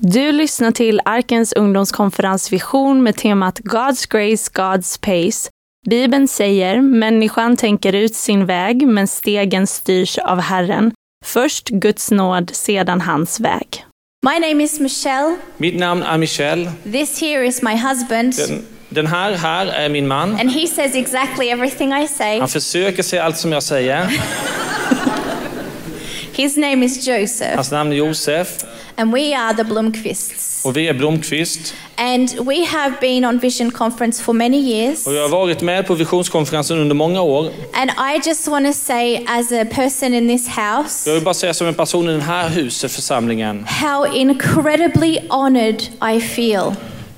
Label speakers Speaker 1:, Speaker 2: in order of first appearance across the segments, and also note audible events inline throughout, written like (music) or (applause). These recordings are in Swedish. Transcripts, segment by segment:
Speaker 1: Du lyssnar till Arkens ungdomskonferens Vision med temat God's Grace, God's Pace. Bibeln säger människan tänker ut sin väg, men stegen styrs av Herren. Först Guds nåd, sedan hans väg.
Speaker 2: My name is Michelle.
Speaker 3: Mitt namn är Michel.
Speaker 2: This here is my husband.
Speaker 3: Den, den här här är min man.
Speaker 2: And he says exactly everything I say.
Speaker 3: Han försöker säga allt som jag säger.
Speaker 2: His name is Joseph.
Speaker 3: Hans namn är Josef
Speaker 2: And we are the Blomqvists.
Speaker 3: och vi är Blomqvist.
Speaker 2: And we have been on Vision Conference for many years.
Speaker 3: Och jag har varit med på visionskonferensen under många år.
Speaker 2: And I just want to say, as a person in this house,
Speaker 3: Jag vill bara säga som en person i det här huset, församlingen,
Speaker 2: how incredibly honored I feel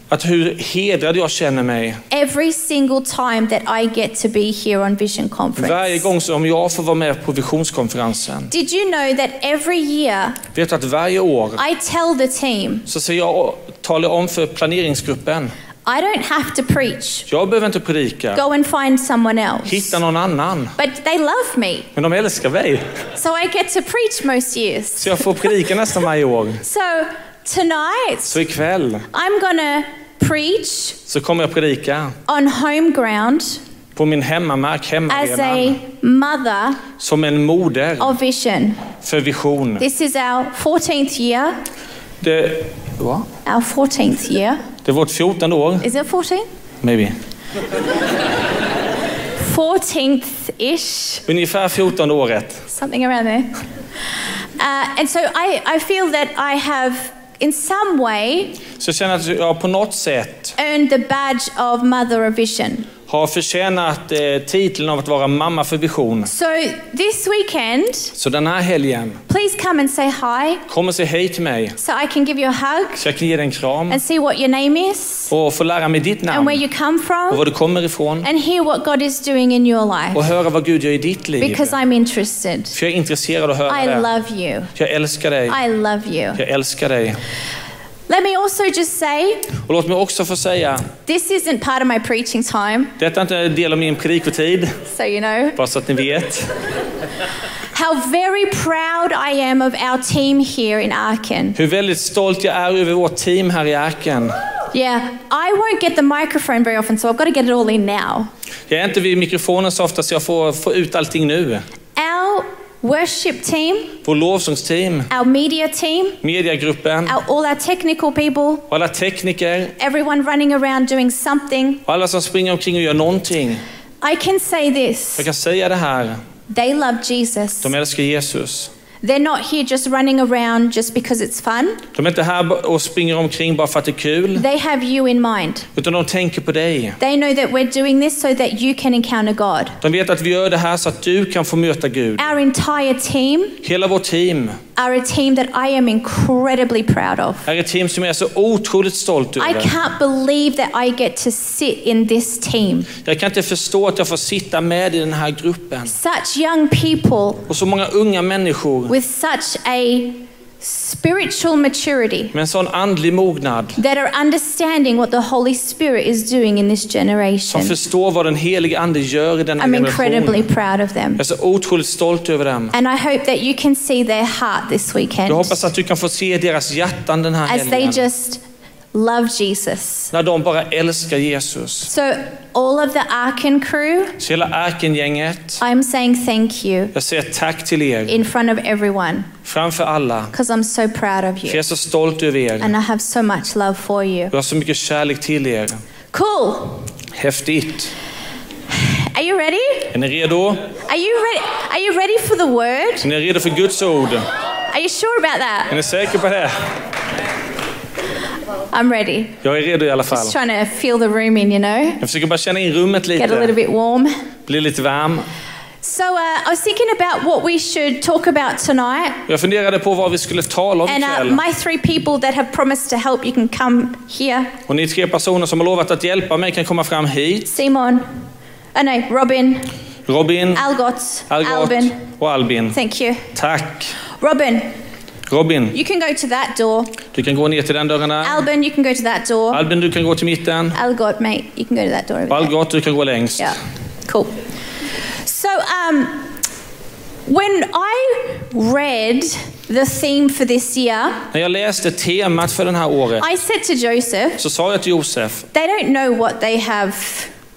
Speaker 3: att hur hedrad jag känner mig.
Speaker 2: every single time that I get to be here on Vision
Speaker 3: Varje
Speaker 2: Conference.
Speaker 3: gång som jag får vara med på visionskonferensen.
Speaker 2: Did you know that every year
Speaker 3: Vet du att varje år
Speaker 2: I tell the team,
Speaker 3: så ser jag talar om för planeringsgruppen.
Speaker 2: I don't have to preach,
Speaker 3: Jag behöver inte predika.
Speaker 2: go and find someone else.
Speaker 3: Hitta någon annan.
Speaker 2: But they love me,
Speaker 3: Men de älskar mig.
Speaker 2: so I get to preach most years.
Speaker 3: Så jag får predika nästan varje år.
Speaker 2: So tonight,
Speaker 3: Så ikväll
Speaker 2: I'm gonna preach
Speaker 3: så kommer jag predika
Speaker 2: on home ground
Speaker 3: på min hemmamark,
Speaker 2: as
Speaker 3: hemmaarenan,
Speaker 2: a mother
Speaker 3: som en moder
Speaker 2: of vision.
Speaker 3: för vision.
Speaker 2: This is our 14th year.
Speaker 3: Det, va?
Speaker 2: Our 14th year.
Speaker 3: det är vårt 14 år,
Speaker 2: Is it 14?
Speaker 3: maybe.
Speaker 2: 14th ish,
Speaker 3: Ungefär 14 året.
Speaker 2: something around there. Uh, and so I, I feel that I have, in some way,
Speaker 3: Så jag känner att jag på något sätt
Speaker 2: earned the badge of Mother of Vision.
Speaker 3: har förtjänat eh, titeln av att vara mamma för vision.
Speaker 2: So this weekend,
Speaker 3: Så den här helgen,
Speaker 2: please come and say hi
Speaker 3: kom och säg hej till mig.
Speaker 2: so I can give you a hug
Speaker 3: Så jag kan ge dig en kram
Speaker 2: and see what your name is
Speaker 3: och få lära mig ditt
Speaker 2: and where
Speaker 3: namn
Speaker 2: you come
Speaker 3: och
Speaker 2: from
Speaker 3: var du kommer ifrån.
Speaker 2: and hear what God is doing in your
Speaker 3: Och
Speaker 2: life
Speaker 3: höra vad Gud gör i ditt liv.
Speaker 2: because I'm interested.
Speaker 3: För jag är intresserad av att höra
Speaker 2: I
Speaker 3: det.
Speaker 2: love you.
Speaker 3: Jag älskar dig.
Speaker 2: I love you.
Speaker 3: Jag älskar dig.
Speaker 2: Let me also just say
Speaker 3: Och låt mig också få säga,
Speaker 2: this isn't part of my preaching time,
Speaker 3: detta är inte en del av min predikotid,
Speaker 2: so you know
Speaker 3: bara så att ni vet.
Speaker 2: how very proud I am of our team here in Aachen.
Speaker 3: Hur väldigt stolt jag är över vårt team här i Arken.
Speaker 2: Yeah, I won't get the microphone very often, so I've got to get it all in now.
Speaker 3: Jag är inte vid mikrofonen så ofta så jag får, får ut allting nu.
Speaker 2: Our worship team,
Speaker 3: Vår lovsångsteam,
Speaker 2: our media team,
Speaker 3: mediagruppen,
Speaker 2: our, all our technical people,
Speaker 3: och alla tekniker
Speaker 2: everyone running around doing something.
Speaker 3: och alla som springer omkring och gör någonting.
Speaker 2: I can say
Speaker 3: Jag
Speaker 2: this
Speaker 3: kan säga det här,
Speaker 2: they love Jesus.
Speaker 3: de älskar Jesus.
Speaker 2: They're not here just running around just because it's fun,
Speaker 3: De är inte här ba- och springer omkring bara för att det är kul,
Speaker 2: they have you in mind.
Speaker 3: utan de tänker på dig.
Speaker 2: They know that we're doing this so that you can encounter God.
Speaker 3: De vet att vi gör det här så att du kan få möta Gud.
Speaker 2: Our entire team
Speaker 3: Hela vårt team
Speaker 2: are a team that I am incredibly proud of.
Speaker 3: är ett team som jag är så otroligt stolt
Speaker 2: I
Speaker 3: över.
Speaker 2: can't believe that I get to sit in this team.
Speaker 3: Jag kan inte förstå att jag får sitta med i den här gruppen.
Speaker 2: Such young people
Speaker 3: Och så många unga människor
Speaker 2: with such a spiritual maturity
Speaker 3: med en sån andlig mognad
Speaker 2: that are understanding what the Holy Spirit is doing in this
Speaker 3: som
Speaker 2: generation.
Speaker 3: förstår vad den helige Ande gör i denna
Speaker 2: I'm
Speaker 3: generation.
Speaker 2: incredibly
Speaker 3: Jag
Speaker 2: proud of them.
Speaker 3: är så otroligt stolt över dem.
Speaker 2: And I hope that you can see their heart this weekend
Speaker 3: Jag hoppas att du kan få se deras hjärtan den här
Speaker 2: as they
Speaker 3: helgen.
Speaker 2: just love Jesus.
Speaker 3: När de bara älskar Jesus.
Speaker 2: So, all of the Arkin crew,
Speaker 3: Så hela Arkengänget,
Speaker 2: I'm saying thank you
Speaker 3: jag säger tack till er
Speaker 2: in front of everyone
Speaker 3: framför alla.
Speaker 2: because I'm so proud of
Speaker 3: För jag
Speaker 2: you
Speaker 3: är så stolt över er.
Speaker 2: and I have so much love for you.
Speaker 3: Jag har så mycket kärlek till er.
Speaker 2: Cool.
Speaker 3: Häftigt.
Speaker 2: Are you ready?
Speaker 3: Är ni redo?
Speaker 2: Are you ready? Are you ready for the word?
Speaker 3: Är ni redo för Guds ord?
Speaker 2: Are you sure about
Speaker 3: Är
Speaker 2: that?
Speaker 3: ni säkra på det?
Speaker 2: I'm ready.
Speaker 3: Jag är redo i alla fall.
Speaker 2: Just trying to feel the room in, you know,
Speaker 3: Jag försöker bara känna in rummet
Speaker 2: get a little
Speaker 3: lite,
Speaker 2: bit warm.
Speaker 3: bli lite varm.
Speaker 2: So uh, I was thinking about what we should talk about tonight,
Speaker 3: Jag funderade på vad vi skulle tala om
Speaker 2: and uh,
Speaker 3: ikväll.
Speaker 2: my three people that have promised to help, you can come here.
Speaker 3: Och ni tre personer som har lovat att hjälpa mig kan komma fram hit.
Speaker 2: Simon, oh no, Robin,
Speaker 3: Robin,
Speaker 2: Algot,
Speaker 3: Algot
Speaker 2: Albin.
Speaker 3: och Albin.
Speaker 2: Thank you,
Speaker 3: Tack.
Speaker 2: Robin.
Speaker 3: Robin,
Speaker 2: You can go to that door.
Speaker 3: du kan gå ner till den dörren där.
Speaker 2: Albin, you can go to that door.
Speaker 3: Albin, du kan gå till mitten.
Speaker 2: Algot, mate, you can go to that door. Over
Speaker 3: Och
Speaker 2: there.
Speaker 3: Algot, du kan gå längst.
Speaker 2: Yeah, cool. So, um, when I read the theme for this year,
Speaker 3: När jag läste temat för den här året
Speaker 2: I said to Joseph,
Speaker 3: så sa jag till Josef,
Speaker 2: they don't know what they have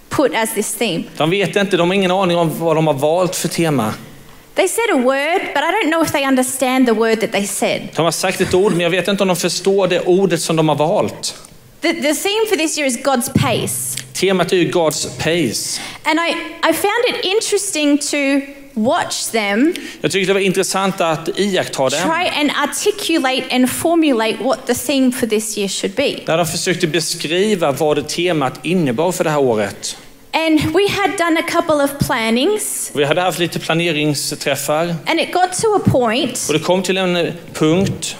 Speaker 2: put as this theme.
Speaker 3: de vet inte, de har ingen aning om vad de har valt för tema.
Speaker 2: They said a word, but I don't know if they understand the word that they said.
Speaker 3: De har sagt ett ord, men jag vet inte om de förstår det ordet som de har valt.
Speaker 2: The, the theme for this year is God's pace.
Speaker 3: Temat är ju God's pace.
Speaker 2: And I, I found it interesting to watch them
Speaker 3: Jag tyckte det var intressant att iaktta dem.
Speaker 2: try and articulate and formulate what the theme for this year should be.
Speaker 3: Där de försökte beskriva vad det temat innebar för det här året.
Speaker 2: And we had done a couple of plannings,
Speaker 3: Vi hade haft lite planeringsträffar
Speaker 2: and it got to a point,
Speaker 3: och det kom till en eh, punkt.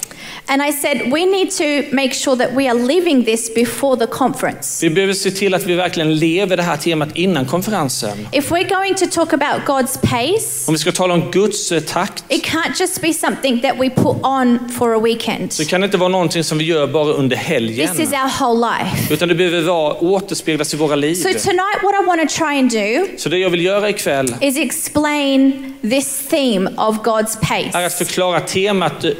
Speaker 2: and I said, we need to make sure that we are living this before the conference.
Speaker 3: Vi behöver se till att vi verkligen lever det här temat innan konferensen.
Speaker 2: If we're going to talk about God's pace,
Speaker 3: Om vi ska tala om Guds eh, takt
Speaker 2: it can't just be something that we put on for a weekend.
Speaker 3: så kan det inte vara någonting som vi gör bara under
Speaker 2: This is
Speaker 3: helgen.
Speaker 2: our whole life.
Speaker 3: Utan det behöver vara, återspeglas i våra liv.
Speaker 2: So, tonight, what I want to try and do
Speaker 3: Så det jag vill göra ikväll
Speaker 2: is explain this theme of God's pace.
Speaker 3: är att förklara temat eh,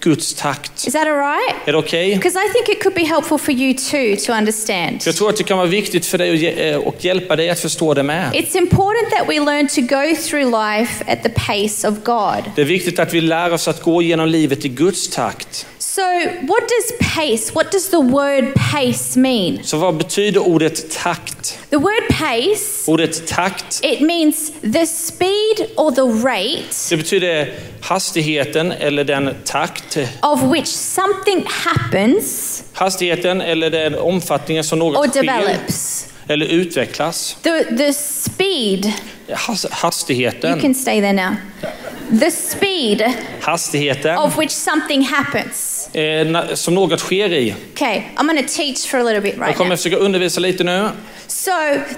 Speaker 3: Guds takt.
Speaker 2: Is that all right?
Speaker 3: Är det okej?
Speaker 2: Because I think it could be helpful for you too to understand.
Speaker 3: För Jag tror att det kan vara viktigt för dig att ge- eh, och hjälpa dig att förstå det med.
Speaker 2: It's important that we learn to go through life at the pace of God.
Speaker 3: Det är viktigt att vi lär oss att gå genom livet i Guds takt.
Speaker 2: So, what does pace, what does the word pace mean?
Speaker 3: Så vad betyder ordet takt?
Speaker 2: The word pace,
Speaker 3: Ordet takt,
Speaker 2: it means the speed or the rate
Speaker 3: det betyder hastigheten eller den takt.
Speaker 2: of which something happens
Speaker 3: Hastigheten eller den omfattningen som
Speaker 2: or
Speaker 3: något sker
Speaker 2: develops.
Speaker 3: eller utvecklas.
Speaker 2: The, the speed,
Speaker 3: Has,
Speaker 2: you can
Speaker 3: hastigheten.
Speaker 2: stay there now. The speed
Speaker 3: Hastigheten
Speaker 2: of which something happens.
Speaker 3: eh, na- som något sker i.
Speaker 2: Okay, I'm going to teach for a little bit
Speaker 3: Jag
Speaker 2: right
Speaker 3: kommer
Speaker 2: now.
Speaker 3: försöka undervisa lite nu.
Speaker 2: So,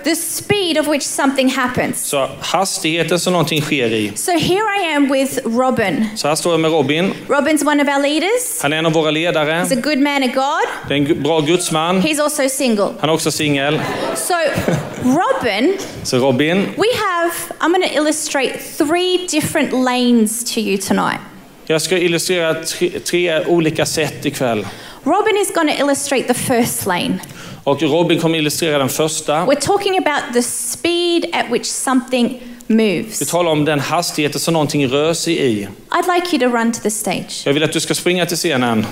Speaker 2: the speed of which something happens.
Speaker 3: Så hastigheten som någonting sker i.
Speaker 2: So, here I am with Robin.
Speaker 3: Så här står jag med Robin.
Speaker 2: Robin's one of our leaders.
Speaker 3: Han är en av våra ledare.
Speaker 2: He's a good man of God.
Speaker 3: Det är en gu- bra gudsman.
Speaker 2: He's also single.
Speaker 3: Han är också singel.
Speaker 2: So, Robin,
Speaker 3: Så Robin,
Speaker 2: we have, I'm going to illustrate three different lanes to you tonight.
Speaker 3: jag ska illustrera tre, tre olika sätt ikväll.
Speaker 2: Robin is going to illustrate the first lane.
Speaker 3: Och Robin kommer illustrera den första.
Speaker 2: We're talking about the speed at which something
Speaker 3: Vi
Speaker 2: moves.
Speaker 3: talar om den hastigheten som någonting rör sig i.
Speaker 2: I'd like you to run to the stage.
Speaker 3: Jag vill att du ska springa till scenen.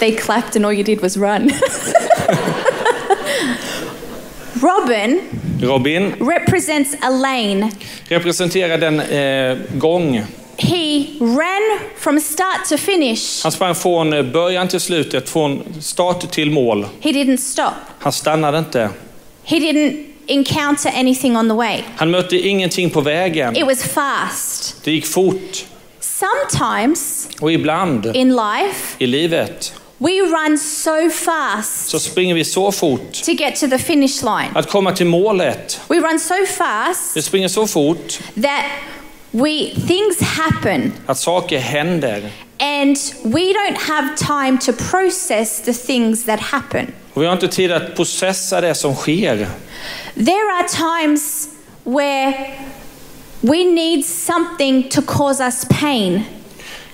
Speaker 2: They clapped and all you did was run. (laughs) Robin
Speaker 3: Robin
Speaker 2: represents a lane.
Speaker 3: representerar den eh, gång.
Speaker 2: He ran from start to finish.
Speaker 3: Han sprang från eh, början till slutet, från start till mål.
Speaker 2: He didn't stop.
Speaker 3: Han stannade inte.
Speaker 2: He didn't encounter anything on the way.
Speaker 3: Han mötte ingenting på vägen.
Speaker 2: It was fast.
Speaker 3: Det gick fort.
Speaker 2: Sometimes
Speaker 3: Och ibland
Speaker 2: in life,
Speaker 3: i livet
Speaker 2: we run so fast
Speaker 3: så springer vi så fort
Speaker 2: to get to the finish line.
Speaker 3: att komma till målet.
Speaker 2: We run so fast
Speaker 3: Vi springer så fort
Speaker 2: that we things happen
Speaker 3: att saker händer.
Speaker 2: and we don't have time to process the things that happen.
Speaker 3: Och vi har inte tid att processa det som sker.
Speaker 2: There are times where we need something to cause us pain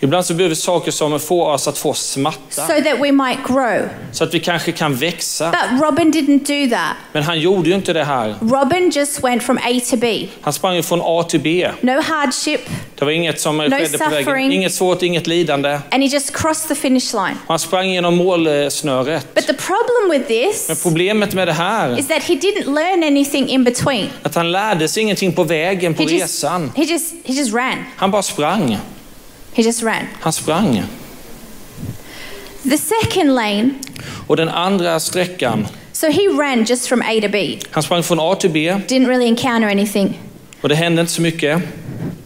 Speaker 3: Ibland så behöver vi saker som får oss att få smärta
Speaker 2: so that we might grow.
Speaker 3: så att vi kanske kan växa.
Speaker 2: But Robin didn't do that.
Speaker 3: Men han gjorde ju inte det här.
Speaker 2: Robin just went from A to B.
Speaker 3: Han sprang ju från A till B.
Speaker 2: No hardship,
Speaker 3: Det var inget som skedde på vägen.
Speaker 2: suffering.
Speaker 3: Inget svårt, inget lidande.
Speaker 2: and he just crossed the finish line.
Speaker 3: Och Han sprang genom målsnöret.
Speaker 2: But the problem with
Speaker 3: Men
Speaker 2: this
Speaker 3: problemet med det här
Speaker 2: is that he didn't learn anything in between.
Speaker 3: att han lärde sig ingenting på vägen, på
Speaker 2: He just,
Speaker 3: resan.
Speaker 2: he just, he just ran.
Speaker 3: Han bara sprang.
Speaker 2: He just ran.
Speaker 3: Han sprang.
Speaker 2: The second lane,
Speaker 3: Och den andra sträckan,
Speaker 2: so he ran just from A to B.
Speaker 3: han sprang från A till B
Speaker 2: Didn't really encounter anything.
Speaker 3: och det hände inte så mycket.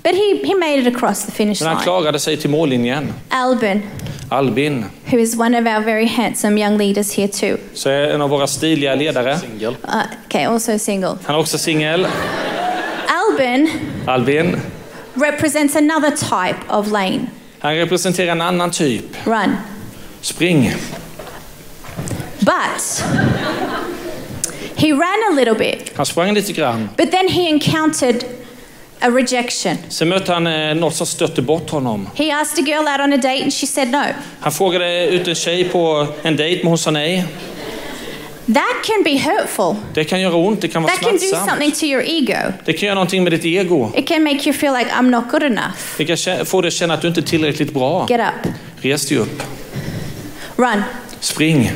Speaker 2: But he, he made it across the finish
Speaker 3: Men han
Speaker 2: line.
Speaker 3: klarade sig till mållinjen.
Speaker 2: Albin,
Speaker 3: Albin,
Speaker 2: who is one of our very handsome young leaders here too.
Speaker 3: så är en av våra stiliga ledare.
Speaker 2: Uh, okay, also single.
Speaker 3: Han är också singel.
Speaker 2: Albin
Speaker 3: Albin,
Speaker 2: represents another type of lane.
Speaker 3: han representerar en annan typ.
Speaker 2: Run.
Speaker 3: Spring.
Speaker 2: But He ran a little bit,
Speaker 3: Han sprang lite grann.
Speaker 2: but then he encountered a rejection.
Speaker 3: Sen mötte han eh, något som stötte bort honom.
Speaker 2: He asked a girl out on a date and she said no.
Speaker 3: Han frågade ut en tjej på en dejt, men hon sa nej.
Speaker 2: That can be hurtful.
Speaker 3: Det kan göra ont, det kan vara
Speaker 2: That can do
Speaker 3: smärtsamt.
Speaker 2: something to your ego.
Speaker 3: Det kan göra någonting med ditt ego.
Speaker 2: It can make you feel like I'm not good enough.
Speaker 3: Det kan kä- få dig att känna att du inte är tillräckligt bra.
Speaker 2: Get up,
Speaker 3: Res dig upp.
Speaker 2: run.
Speaker 3: Spring.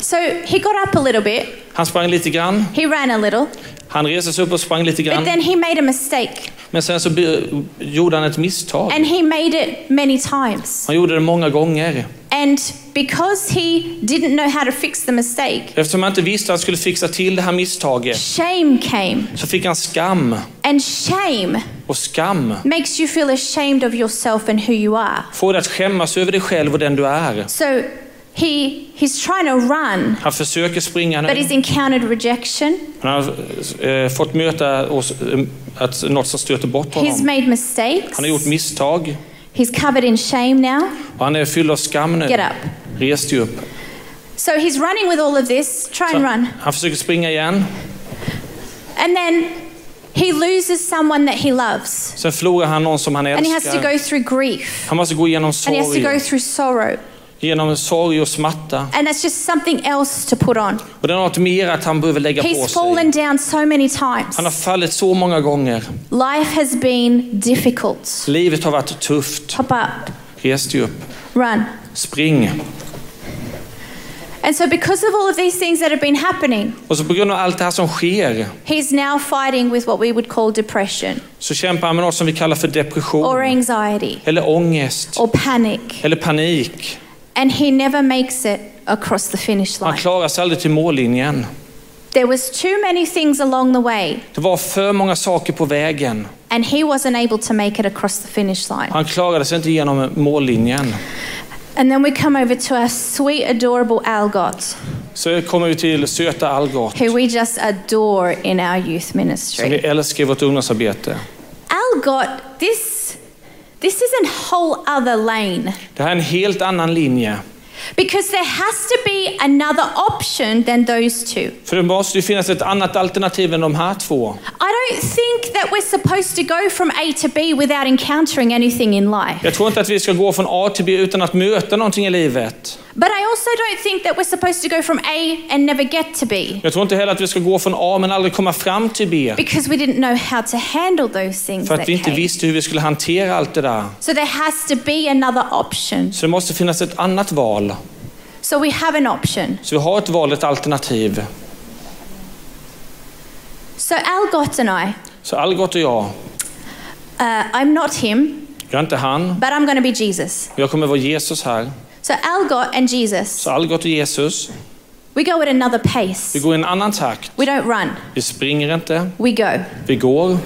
Speaker 2: So he got up a little bit,
Speaker 3: Han sprang lite grann.
Speaker 2: he ran a little,
Speaker 3: Han reste sig upp och sprang lite
Speaker 2: but
Speaker 3: grann.
Speaker 2: then he made a mistake
Speaker 3: Men sen så be- gjorde han ett misstag.
Speaker 2: and he made it many times.
Speaker 3: Han gjorde det många gånger.
Speaker 2: And because he didn't know how to fix the mistake,
Speaker 3: Eftersom han inte visste att han skulle fixa till det här misstaget
Speaker 2: shame came.
Speaker 3: så fick han skam.
Speaker 2: And shame
Speaker 3: Och skam
Speaker 2: makes you feel ashamed of yourself and who you are.
Speaker 3: får dig att skämmas över dig själv och den du är.
Speaker 2: So he he's trying to run,
Speaker 3: Han försöker springa
Speaker 2: but he's
Speaker 3: nu.
Speaker 2: encountered rejection.
Speaker 3: Han har eh, fått möta oss, eh, att något som stöter bort
Speaker 2: He's
Speaker 3: honom.
Speaker 2: made mistakes.
Speaker 3: Han har gjort misstag
Speaker 2: He's covered in shame now.
Speaker 3: och han är fylld av skam
Speaker 2: Get
Speaker 3: nu.
Speaker 2: up.
Speaker 3: Res dig upp.
Speaker 2: So he's running with all of this, try and
Speaker 3: Så
Speaker 2: run.
Speaker 3: han försöker springa igen.
Speaker 2: And then he loses someone that he loves.
Speaker 3: Sen förlorar han någon som han
Speaker 2: And he has to
Speaker 3: älskar.
Speaker 2: go through grief.
Speaker 3: Han måste gå igenom
Speaker 2: And he has to go
Speaker 3: sorg,
Speaker 2: through sorrow.
Speaker 3: genom sorg och smärta.
Speaker 2: And that's just something else to put on.
Speaker 3: Och det är något mer att han behöver lägga på
Speaker 2: He's
Speaker 3: sig.
Speaker 2: fallen down so many times.
Speaker 3: Han har fallit så många gånger.
Speaker 2: Life has been difficult.
Speaker 3: Livet har varit tufft.
Speaker 2: Pop up,
Speaker 3: Res dig upp.
Speaker 2: run.
Speaker 3: Spring.
Speaker 2: And so, because of all of these things that have been happening,
Speaker 3: Och så på grund av allt det här som sker
Speaker 2: he's now fighting with what we would call depression
Speaker 3: så kämpar han med något som vi kallar för
Speaker 2: or
Speaker 3: depression.
Speaker 2: anxiety
Speaker 3: Eller ångest.
Speaker 2: or panic.
Speaker 3: Eller panik.
Speaker 2: And he never makes it across the finish
Speaker 3: Han
Speaker 2: line.
Speaker 3: klarar sig aldrig till mållinjen.
Speaker 2: There was too many things along the way,
Speaker 3: Det var för många saker på vägen.
Speaker 2: and he wasn't able to make it across the finish line.
Speaker 3: Han klarade sig inte genom mållinjen.
Speaker 2: And then we come over to our sweet, adorable Algot,
Speaker 3: Så kommer vi till söta Algot,
Speaker 2: who we just adore in our youth
Speaker 3: som vi
Speaker 2: ministry.
Speaker 3: älskar i vårt ungdomsarbete.
Speaker 2: Algot, this this is a whole other lane.
Speaker 3: Det här är en helt annan linje.
Speaker 2: Because there has to be another option than those two.
Speaker 3: För det måste ju finnas ett annat alternativ än de här två.
Speaker 2: I don't think that we're supposed to go from A to B without encountering anything in life.
Speaker 3: Jag tror inte att vi ska gå från A till B utan att möta någonting i livet.
Speaker 2: But I also don't think that we're supposed to go from A and never get to B
Speaker 3: Jag tror inte heller att vi ska gå från A men aldrig komma fram till B.
Speaker 2: because we didn't know how to handle those things
Speaker 3: För
Speaker 2: that
Speaker 3: att vi inte
Speaker 2: came.
Speaker 3: visste hur vi skulle hantera allt det där.
Speaker 2: So there has to be another option.
Speaker 3: Så det måste finnas ett annat val.
Speaker 2: So we have an option.
Speaker 3: Så vi har ett val, ett alternativ.
Speaker 2: So Algot and I,
Speaker 3: Så Algot och jag,
Speaker 2: uh, I'm not him,
Speaker 3: jag är inte han.
Speaker 2: but I'm going to be Jesus.
Speaker 3: Jag kommer vara Jesus här.
Speaker 2: So Algot and Jesus,
Speaker 3: Så Algot och Jesus,
Speaker 2: we go at another
Speaker 3: vi
Speaker 2: pace.
Speaker 3: går i en annan takt.
Speaker 2: We don't run,
Speaker 3: Vi springer inte,
Speaker 2: we go.
Speaker 3: vi går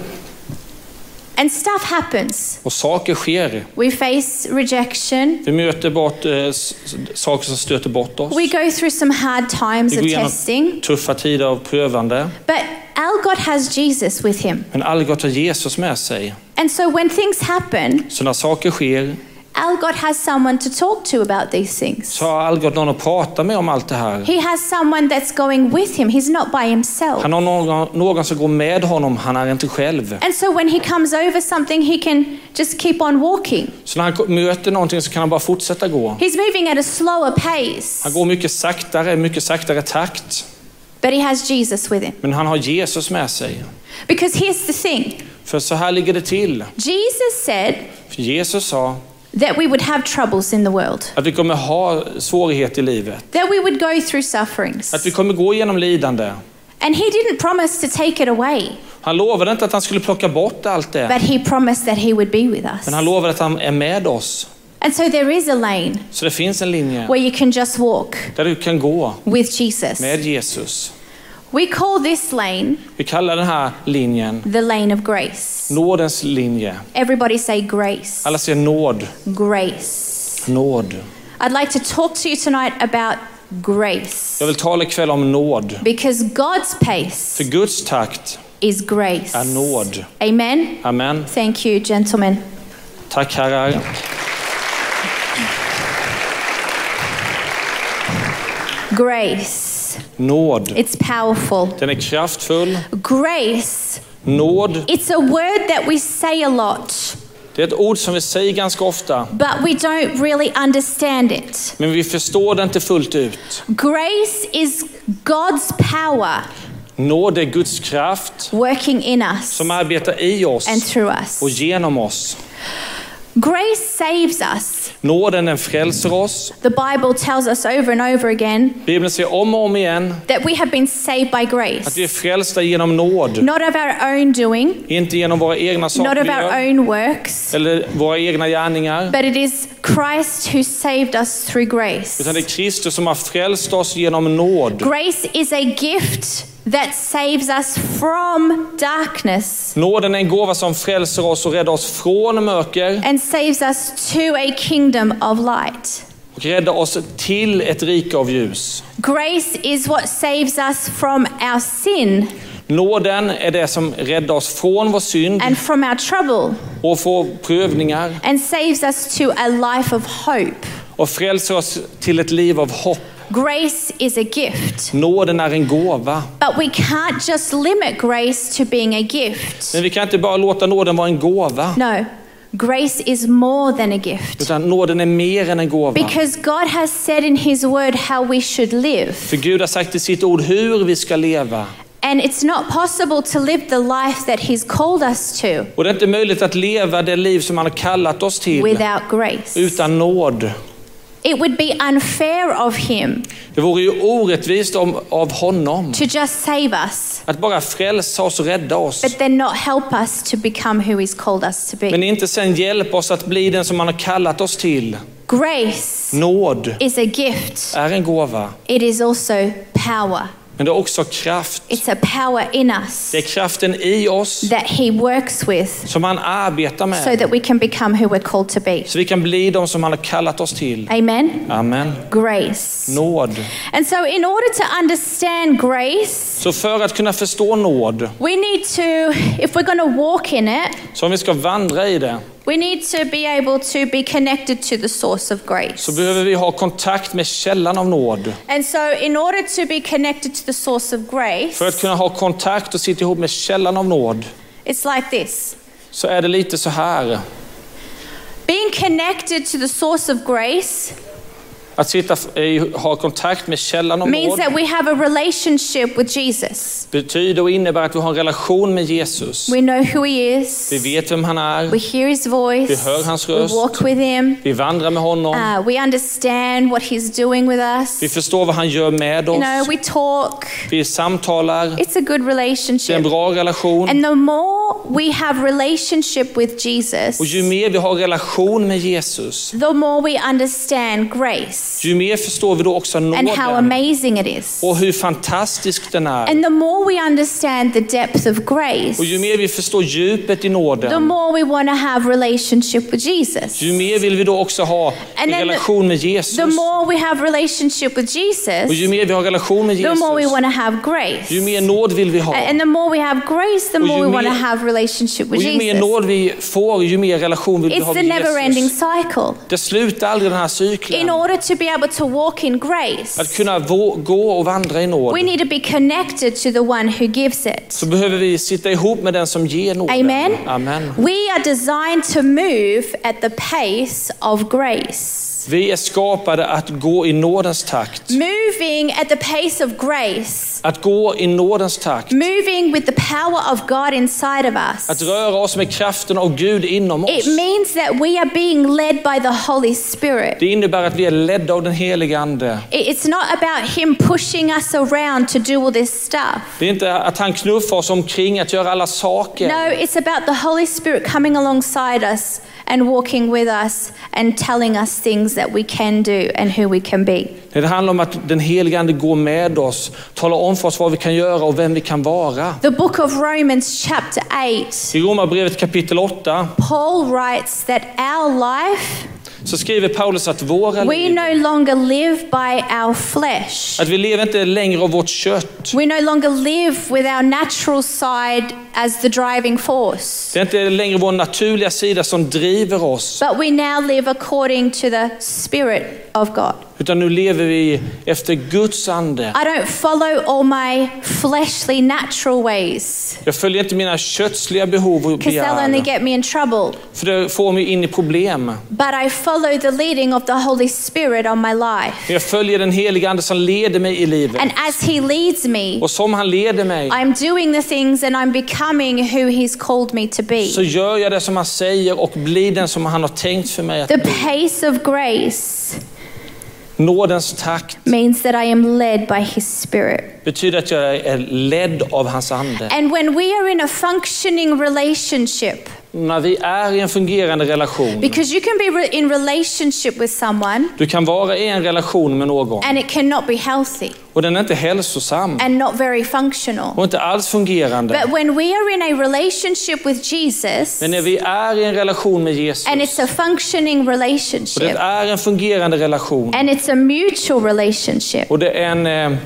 Speaker 2: And stuff happens.
Speaker 3: och saker sker.
Speaker 2: We face rejection.
Speaker 3: Vi möter bort eh, s- s- saker som stöter bort oss.
Speaker 2: We go through some hard times
Speaker 3: Vi går
Speaker 2: of
Speaker 3: igenom
Speaker 2: testing.
Speaker 3: tuffa tider av prövande.
Speaker 2: But our God has Jesus with him.
Speaker 3: Men Algot har Jesus med sig.
Speaker 2: And so when things happen,
Speaker 3: Så när saker sker
Speaker 2: our God has someone to talk to about these things.
Speaker 3: så har Algot någon att prata med om allt det här.
Speaker 2: He has someone that's going with him. He's not by himself.
Speaker 3: Han har någon, någon som går med honom, han är inte själv.
Speaker 2: And so when he comes over something, he can just keep on walking.
Speaker 3: Så när han ko- möter någonting så kan han bara fortsätta gå.
Speaker 2: He's moving at a slower pace,
Speaker 3: Han går mycket saktare, mycket saktare takt.
Speaker 2: but he has Jesus with him.
Speaker 3: Men han har Jesus med sig.
Speaker 2: Because here's the thing
Speaker 3: För så här ligger det till.
Speaker 2: Jesus said
Speaker 3: För Jesus sa
Speaker 2: that we would have troubles in the world,
Speaker 3: att vi kommer ha svårighet i livet.
Speaker 2: that we would go through sufferings.
Speaker 3: Att vi kommer gå igenom lidande.
Speaker 2: And he didn't promise to take it away,
Speaker 3: Han lovade inte att han skulle plocka bort allt det.
Speaker 2: but he promised that he would be with us.
Speaker 3: Men han lovade att han är med oss.
Speaker 2: And so there is a lane
Speaker 3: Så det finns en linje
Speaker 2: where you can just walk
Speaker 3: där du kan gå
Speaker 2: with Jesus.
Speaker 3: med Jesus.
Speaker 2: We call this lane
Speaker 3: Vi kallar den här linjen
Speaker 2: the lane of grace.
Speaker 3: nådens linje.
Speaker 2: Everybody say grace.
Speaker 3: Alla säger nåd,
Speaker 2: Grace.
Speaker 3: nåd.
Speaker 2: I'd like to talk to you tonight about grace
Speaker 3: Jag vill tala ikväll om nåd.
Speaker 2: because God's pace
Speaker 3: För Guds takt
Speaker 2: is grace.
Speaker 3: är nåd.
Speaker 2: Amen.
Speaker 3: Amen.
Speaker 2: Thank you, gentlemen.
Speaker 3: Tack herrar.
Speaker 2: Grace.
Speaker 3: Nåd.
Speaker 2: It's powerful.
Speaker 3: Den är kraftfull.
Speaker 2: Grace.
Speaker 3: Nåd.
Speaker 2: It's a word that we say a lot,
Speaker 3: Det är ett ord som vi säger ganska ofta,
Speaker 2: but we don't really understand it.
Speaker 3: men vi förstår det inte fullt ut.
Speaker 2: Grace is God's power
Speaker 3: Nåd är Guds kraft
Speaker 2: working in us
Speaker 3: som arbetar i oss
Speaker 2: and through
Speaker 3: och
Speaker 2: us.
Speaker 3: genom oss.
Speaker 2: Grace saves us.
Speaker 3: Nåden den frälser oss.
Speaker 2: The Bible tells us over and over again
Speaker 3: Bibeln säger om och om igen
Speaker 2: that we have been saved by
Speaker 3: att vi är
Speaker 2: grace,
Speaker 3: frälsta genom nåd.
Speaker 2: not of our own doing,
Speaker 3: Inte genom våra egna
Speaker 2: not
Speaker 3: saker
Speaker 2: of
Speaker 3: vi
Speaker 2: our
Speaker 3: gör,
Speaker 2: own works,
Speaker 3: eller våra egna gärningar.
Speaker 2: but it is Christ who saved us through grace.
Speaker 3: Utan det är Kristus som har frälst oss genom nåd.
Speaker 2: Grace is a gift that saves us from darkness
Speaker 3: Nåden är en gåva som frälser oss och räddar oss från mörker
Speaker 2: and saves us to a kingdom of light.
Speaker 3: och räddar oss till ett rike av ljus.
Speaker 2: Grace is what saves us from our sin
Speaker 3: Nåden är det som räddar oss från vår synd
Speaker 2: and from our trouble
Speaker 3: och från prövningar
Speaker 2: and saves us to a life of hope.
Speaker 3: och frälser oss till ett liv av hopp.
Speaker 2: Grace is a gift,
Speaker 3: Nåden är en gåva.
Speaker 2: but we can't just limit grace to being a gift.
Speaker 3: Men vi kan inte bara låta nåden vara en gåva.
Speaker 2: No, grace is more than a gift
Speaker 3: Utan nåden är mer än en gåva.
Speaker 2: because God has said in His Word how we should live.
Speaker 3: För Gud har sagt i sitt ord hur vi ska leva.
Speaker 2: And it's not possible to live the life that He's called us to
Speaker 3: Och det är inte möjligt att leva det liv som han har kallat oss till
Speaker 2: without grace.
Speaker 3: utan nåd.
Speaker 2: It would be unfair of Him
Speaker 3: Det vore ju orättvist om, av honom
Speaker 2: to just save us,
Speaker 3: att bara frälsa oss och rädda oss.
Speaker 2: but then not help us to become who He's called us to
Speaker 3: Men
Speaker 2: be.
Speaker 3: inte sen hjälpa oss att bli den som han har kallat oss till.
Speaker 2: Grace
Speaker 3: Nåd
Speaker 2: is a gift,
Speaker 3: är en gåva,
Speaker 2: it is also power.
Speaker 3: men det är också kraft.
Speaker 2: It's a power in us
Speaker 3: Det är kraften i oss
Speaker 2: that He works with
Speaker 3: som han arbetar
Speaker 2: so
Speaker 3: med.
Speaker 2: that we can become who we're called to be.
Speaker 3: Så vi kan bli de som han har kallat oss till.
Speaker 2: Amen?
Speaker 3: Amen.
Speaker 2: Grace.
Speaker 3: Nåd.
Speaker 2: And so, in order to understand grace,
Speaker 3: Så för att kunna förstå nåd,
Speaker 2: we need to, if we're going to walk in it,
Speaker 3: så om vi ska vandra i det,
Speaker 2: We need to be able to be connected to the source of grace.
Speaker 3: så behöver vi ha kontakt med källan av nåd.
Speaker 2: And so, in order to be connected to the source of grace,
Speaker 3: För att kunna ha kontakt och sitta ihop med källan av nåd,
Speaker 2: it's like this
Speaker 3: så är det lite så här.
Speaker 2: Being connected to the source of grace
Speaker 3: Att sitta, f- i- ha kontakt med källan av
Speaker 2: means
Speaker 3: nåd
Speaker 2: that we have a relationship with Jesus.
Speaker 3: betyder och innebär att vi har en relation med Jesus.
Speaker 2: We know who He
Speaker 3: Vi
Speaker 2: is,
Speaker 3: vet vem han
Speaker 2: we
Speaker 3: är,
Speaker 2: hear His voice,
Speaker 3: Vi hör hans
Speaker 2: we
Speaker 3: röst.
Speaker 2: walk with Him,
Speaker 3: vi vandrar med honom,
Speaker 2: uh, we understand what He's doing with us.
Speaker 3: vi förstår vad han gör med
Speaker 2: You know,
Speaker 3: oss,
Speaker 2: we talk.
Speaker 3: vi samtalar,
Speaker 2: It's a good
Speaker 3: det är en
Speaker 2: relationship.
Speaker 3: bra relation.
Speaker 2: And the more we have relationship with Jesus,
Speaker 3: Och ju mer vi har relation med Jesus,
Speaker 2: the more we understand grace
Speaker 3: ju mer förstår vi då också
Speaker 2: and how
Speaker 3: nåden
Speaker 2: amazing it is.
Speaker 3: och hur fantastisk den är.
Speaker 2: And the more we understand the depth of grace,
Speaker 3: Och ju mer vi förstår djupet i
Speaker 2: the
Speaker 3: nåden,
Speaker 2: more we want to have relationship with Jesus.
Speaker 3: ju mer vill vi då också ha en
Speaker 2: And then
Speaker 3: relation med
Speaker 2: The
Speaker 3: Jesus.
Speaker 2: more we have relationship with
Speaker 3: Och ju
Speaker 2: Jesus,
Speaker 3: mer vi har relation med
Speaker 2: the
Speaker 3: Jesus,
Speaker 2: more we want to have grace.
Speaker 3: ju mer nåd vill vi ha.
Speaker 2: And the more we have grace, the
Speaker 3: Och
Speaker 2: more
Speaker 3: ju
Speaker 2: we want to
Speaker 3: mer-
Speaker 2: have relationship with
Speaker 3: Och ju mer
Speaker 2: Jesus.
Speaker 3: nåd vi får, ju mer relation vill vi
Speaker 2: It's
Speaker 3: ha
Speaker 2: the
Speaker 3: med
Speaker 2: never-ending
Speaker 3: Jesus.
Speaker 2: cycle.
Speaker 3: Det slutar aldrig den här
Speaker 2: In
Speaker 3: cykeln.
Speaker 2: order to be able to walk in grace,
Speaker 3: Att kunna vå- gå och vandra i nåd,
Speaker 2: we need to be connected to the one who gives it.
Speaker 3: så behöver vi sitta ihop med den som ger nåden.
Speaker 2: Amen.
Speaker 3: Amen.
Speaker 2: We are designed to move at the pace of grace.
Speaker 3: Vi är skapade att gå i nådens takt.
Speaker 2: Moving at the pace of grace.
Speaker 3: Att gå i nådens takt.
Speaker 2: Moving with the power of God inside of
Speaker 3: Att
Speaker 2: us.
Speaker 3: röra oss med kraften av Gud inom oss.
Speaker 2: It means that we are being led by the Holy Spirit.
Speaker 3: Det innebär att vi är ledda av den helige Ande.
Speaker 2: It- It's not about Him pushing us around to do all this stuff.
Speaker 3: Det är inte att han knuffar oss omkring att göra alla saker.
Speaker 2: No, it's about the Holy Spirit coming alongside us and walking with us and telling us things that we can do and who we can be.
Speaker 3: Det handlar om att den helige Ande går med oss, talar om för oss vad vi kan göra och vem vi kan vara.
Speaker 2: The book of Romans, chapter 8,
Speaker 3: I Romarbrevet kapitel 8
Speaker 2: Paul writes that our life,
Speaker 3: så skriver Paulus att våra
Speaker 2: we
Speaker 3: liv,
Speaker 2: no longer live by our flesh.
Speaker 3: att vi lever inte längre av vårt kött.
Speaker 2: We no longer live with our natural side as the driving force,
Speaker 3: Det är inte längre vår naturliga sida som driver oss,
Speaker 2: but we now live according to the Spirit of God.
Speaker 3: Utan nu lever vi efter Guds ande.
Speaker 2: I don't follow all my fleshly, natural ways
Speaker 3: Jag följer inte mina kötsliga behov och
Speaker 2: because they'll only
Speaker 3: begär.
Speaker 2: get me in trouble.
Speaker 3: För det får mig in i problem.
Speaker 2: But I follow the leading of the Holy Spirit on my life.
Speaker 3: Men jag följer den helige ande som leder mig i livet.
Speaker 2: And as He leads me,
Speaker 3: Och som han leder mig
Speaker 2: I'm doing the things and I'm becoming who He's called me to
Speaker 3: så
Speaker 2: be.
Speaker 3: gör jag det som han säger och blir den som han har tänkt för mig. Att
Speaker 2: The pace of grace
Speaker 3: nådens takt
Speaker 2: means that I am led by His Spirit.
Speaker 3: betyder att jag är ledd av hans ande.
Speaker 2: And when we are in a functioning relationship,
Speaker 3: När vi är i en fungerande relation.
Speaker 2: because you can be re- in relationship with someone
Speaker 3: Du kan vara i en relation med någon
Speaker 2: and it cannot be healthy
Speaker 3: och den är inte hälsosam
Speaker 2: and not very functional.
Speaker 3: och inte alls fungerande.
Speaker 2: But when we are in a relationship with Jesus,
Speaker 3: Men när vi är i en relation med
Speaker 2: and it's
Speaker 3: Jesus
Speaker 2: a functioning
Speaker 3: och det
Speaker 2: relationship,
Speaker 3: är en fungerande relation
Speaker 2: and it's a mutual relationship,
Speaker 3: och det är en, eh,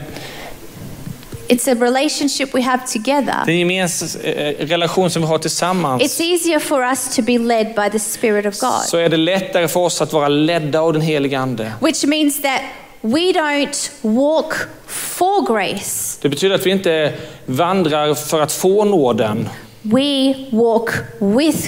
Speaker 2: it's a relationship we have together.
Speaker 3: den gemensam eh, relation som vi har
Speaker 2: It's
Speaker 3: tillsammans
Speaker 2: easier for us to be led by the Spirit of God,
Speaker 3: så är det lättare för oss att vara ledda av den helige Ande.
Speaker 2: which means that we don't walk for grace,
Speaker 3: Det betyder att vi inte vandrar för att få nåden,
Speaker 2: we walk with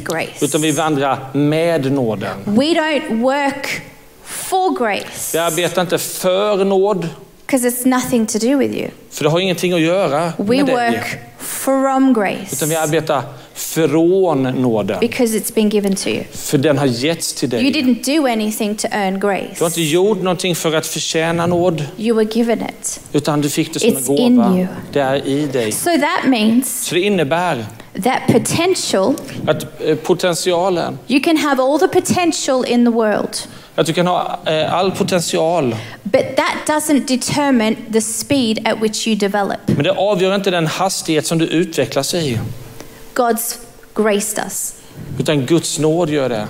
Speaker 3: utan vi
Speaker 2: grace.
Speaker 3: vandrar med nåden.
Speaker 2: We don't work for grace
Speaker 3: Vi arbetar inte för nåd,
Speaker 2: because it's nothing to do with you.
Speaker 3: för det har ingenting att göra
Speaker 2: We
Speaker 3: med dig.
Speaker 2: work from grace
Speaker 3: Utan vi arbetar från nåden,
Speaker 2: because it's been given to you.
Speaker 3: för den har getts till
Speaker 2: You
Speaker 3: dig.
Speaker 2: didn't do anything to earn grace,
Speaker 3: Du har inte gjort någonting för att förtjäna nåd,
Speaker 2: you were given it.
Speaker 3: utan du fick det som en
Speaker 2: It's in
Speaker 3: gåva.
Speaker 2: you.
Speaker 3: Det är i dig.
Speaker 2: So that means
Speaker 3: Så det innebär
Speaker 2: that potential,
Speaker 3: att eh, potentialen,
Speaker 2: you can have all the potential in the world.
Speaker 3: att du kan ha eh, all potential,
Speaker 2: But that doesn't determine the speed at which you develop.
Speaker 3: men det avgör inte den hastighet som du utvecklas i.
Speaker 2: God's graced us.
Speaker 3: Utan Guds nåd gör det.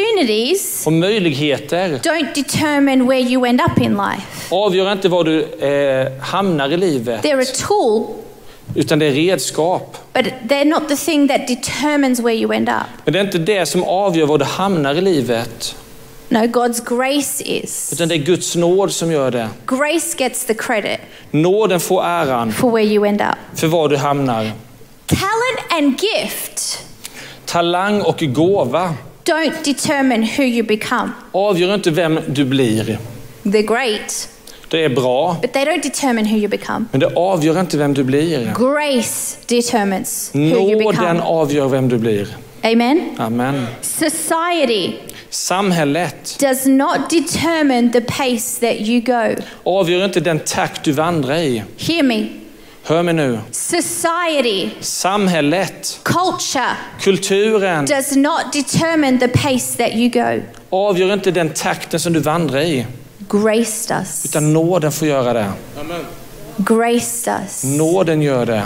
Speaker 2: Opportunities
Speaker 3: Och möjligheter
Speaker 2: don't determine where you end up in life.
Speaker 3: avgör inte var du eh, hamnar i livet,
Speaker 2: They're a tool,
Speaker 3: utan det är redskap.
Speaker 2: but they're not the thing that determines where you end up.
Speaker 3: Men det är inte det som avgör var du hamnar i livet,
Speaker 2: No, God's grace is.
Speaker 3: utan det är Guds nåd som gör det.
Speaker 2: Grace gets the credit
Speaker 3: Nåden får äran
Speaker 2: for where you end up.
Speaker 3: för var du hamnar.
Speaker 2: Talent and gift
Speaker 3: Talang och gåva
Speaker 2: don't determine who you become.
Speaker 3: avgör inte vem du blir.
Speaker 2: They're great,
Speaker 3: Det är bra,
Speaker 2: but they don't determine who you become.
Speaker 3: men det avgör inte vem du blir.
Speaker 2: Grace determines who you
Speaker 3: Nåden
Speaker 2: become.
Speaker 3: avgör vem du blir.
Speaker 2: Amen.
Speaker 3: Amen.
Speaker 2: Society
Speaker 3: Samhället
Speaker 2: does not determine the pace that you go.
Speaker 3: avgör inte den takt du vandrar i.
Speaker 2: Hear me.
Speaker 3: Hör mig nu.
Speaker 2: Society,
Speaker 3: Samhället,
Speaker 2: culture
Speaker 3: kulturen
Speaker 2: does not determine the pace that you go.
Speaker 3: avgör inte den takten som du vandrar i,
Speaker 2: Graced us.
Speaker 3: utan nåden får göra det.
Speaker 2: Graced us.
Speaker 3: Nåden gör det.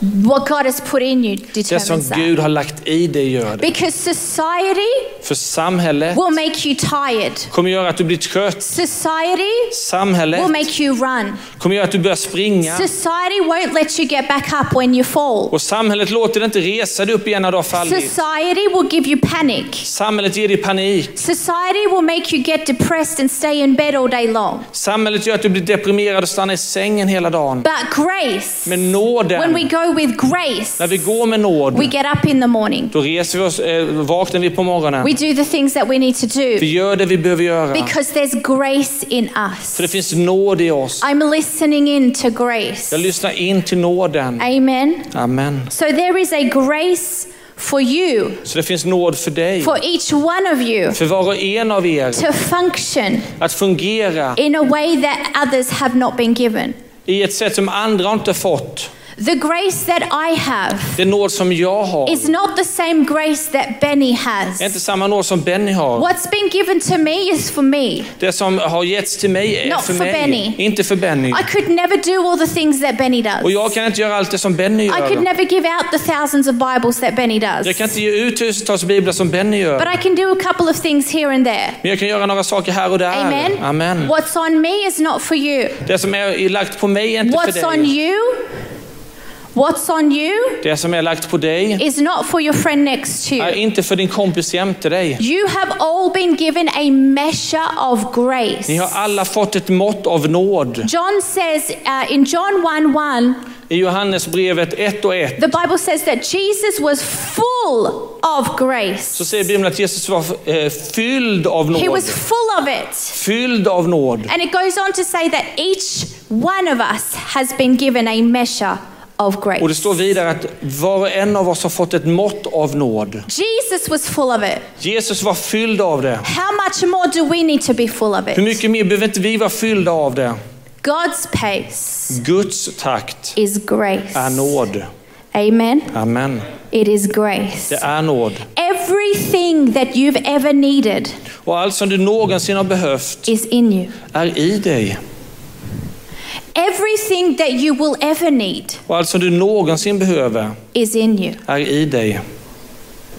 Speaker 2: What God has put in you
Speaker 3: Det som
Speaker 2: determines
Speaker 3: Gud
Speaker 2: that.
Speaker 3: har lagt i dig gör det.
Speaker 2: Because society
Speaker 3: För samhället
Speaker 2: will make you tired.
Speaker 3: kommer göra att du blir trött.
Speaker 2: Society will
Speaker 3: Samhället
Speaker 2: make you run.
Speaker 3: kommer göra att du börjar springa.
Speaker 2: Society won't let you get back up when you fall.
Speaker 3: Och samhället låter dig inte resa dig upp igen när du har fallit.
Speaker 2: Society will give you panic.
Speaker 3: Samhället ger dig panik.
Speaker 2: Society will make you get depressed and stay in bed all day long.
Speaker 3: Samhället gör att du blir deprimerad och stannar i sängen hela dagen.
Speaker 2: But grace,
Speaker 3: Men
Speaker 2: when we
Speaker 3: nåden,
Speaker 2: go with grace,
Speaker 3: när vi går med
Speaker 2: we
Speaker 3: nåd,
Speaker 2: get up in the morning.
Speaker 3: då reser vi oss, eh, vaknar vi på morgonen.
Speaker 2: We do the things that we need to do
Speaker 3: Vi gör det vi behöver göra.
Speaker 2: because there's grace in
Speaker 3: För det
Speaker 2: us.
Speaker 3: finns nåd i oss.
Speaker 2: I'm listening in to grace.
Speaker 3: Jag lyssnar in till nåden.
Speaker 2: Amen.
Speaker 3: Amen.
Speaker 2: So there is a grace for you,
Speaker 3: Så det finns nåd för dig,
Speaker 2: for each one of you,
Speaker 3: för var och en av er,
Speaker 2: to function
Speaker 3: att fungera
Speaker 2: in a way that others have not been given.
Speaker 3: i ett sätt som andra inte fått.
Speaker 2: The grace that I have
Speaker 3: Det nåd som jag har
Speaker 2: is not the same grace that Benny has.
Speaker 3: är inte samma nåd som Benny har.
Speaker 2: What's been given to me is for me.
Speaker 3: Det som har getts till mig är
Speaker 2: Not
Speaker 3: för
Speaker 2: for
Speaker 3: mig,
Speaker 2: Benny.
Speaker 3: inte för Benny.
Speaker 2: I could never do all the things that Benny does.
Speaker 3: Och jag kan inte göra allt det som Benny
Speaker 2: I could
Speaker 3: gör.
Speaker 2: never give out the thousands of Bibles that Benny does.
Speaker 3: Jag kan inte ge ut tusentals biblar som Benny
Speaker 2: But
Speaker 3: gör.
Speaker 2: I can do a couple of things here and there.
Speaker 3: Men jag kan göra några saker här och där.
Speaker 2: Amen.
Speaker 3: Ah, Amen.
Speaker 2: What's on me is not for you.
Speaker 3: Det som är lagt på mig är inte för
Speaker 2: What's on
Speaker 3: dig.
Speaker 2: you What's on you
Speaker 3: Det som är lagt på dig
Speaker 2: is not for your friend next to
Speaker 3: är
Speaker 2: you.
Speaker 3: inte för din kompis jämte dig.
Speaker 2: You have all been given a measure of grace.
Speaker 3: Ni har alla fått ett mått av nåd.
Speaker 2: John says uh, in John 1 1,
Speaker 3: I Johannesbrevet 1 och 1
Speaker 2: the Bible says that Jesus was full of grace.
Speaker 3: så säger Bibeln att Jesus var eh, fylld av
Speaker 2: He
Speaker 3: nåd.
Speaker 2: was full of it.
Speaker 3: Fylld av nåd.
Speaker 2: And it goes on to say that each one of us has been given a measure of
Speaker 3: Och det
Speaker 2: grace.
Speaker 3: står vidare att var och en av oss har fått ett mått av nåd.
Speaker 2: Jesus was full of it.
Speaker 3: Jesus var fylld av det.
Speaker 2: How much more do we need to be full of
Speaker 3: Hur
Speaker 2: it?
Speaker 3: mycket mer behöver inte vi vara fyllda av det?
Speaker 2: God's pace
Speaker 3: Guds takt
Speaker 2: is grace.
Speaker 3: är nåd.
Speaker 2: Amen.
Speaker 3: Amen.
Speaker 2: It is grace.
Speaker 3: Det är nåd.
Speaker 2: Everything that you've ever needed
Speaker 3: Och allt som du någonsin har behövt
Speaker 2: is in you.
Speaker 3: är i dig.
Speaker 2: Everything that you will ever need
Speaker 3: Och allt som du någonsin behöver
Speaker 2: is in you.
Speaker 3: är i dig.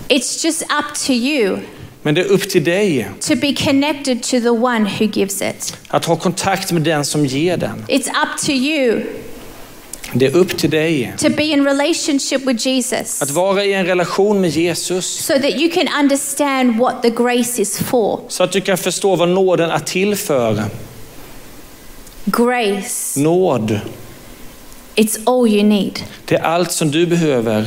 Speaker 2: It's just up to you
Speaker 3: Men det är upp till dig
Speaker 2: to be connected to the one who gives it.
Speaker 3: att ha kontakt med den som ger den.
Speaker 2: It's up to you
Speaker 3: Det är upp till dig
Speaker 2: to be in relationship with Jesus
Speaker 3: att vara i en relation med Jesus
Speaker 2: so that you can understand what the grace is for.
Speaker 3: så att du kan förstå vad nåden är till för.
Speaker 2: Grace,
Speaker 3: Nåd,
Speaker 2: it's all you need.
Speaker 3: det är allt som du behöver.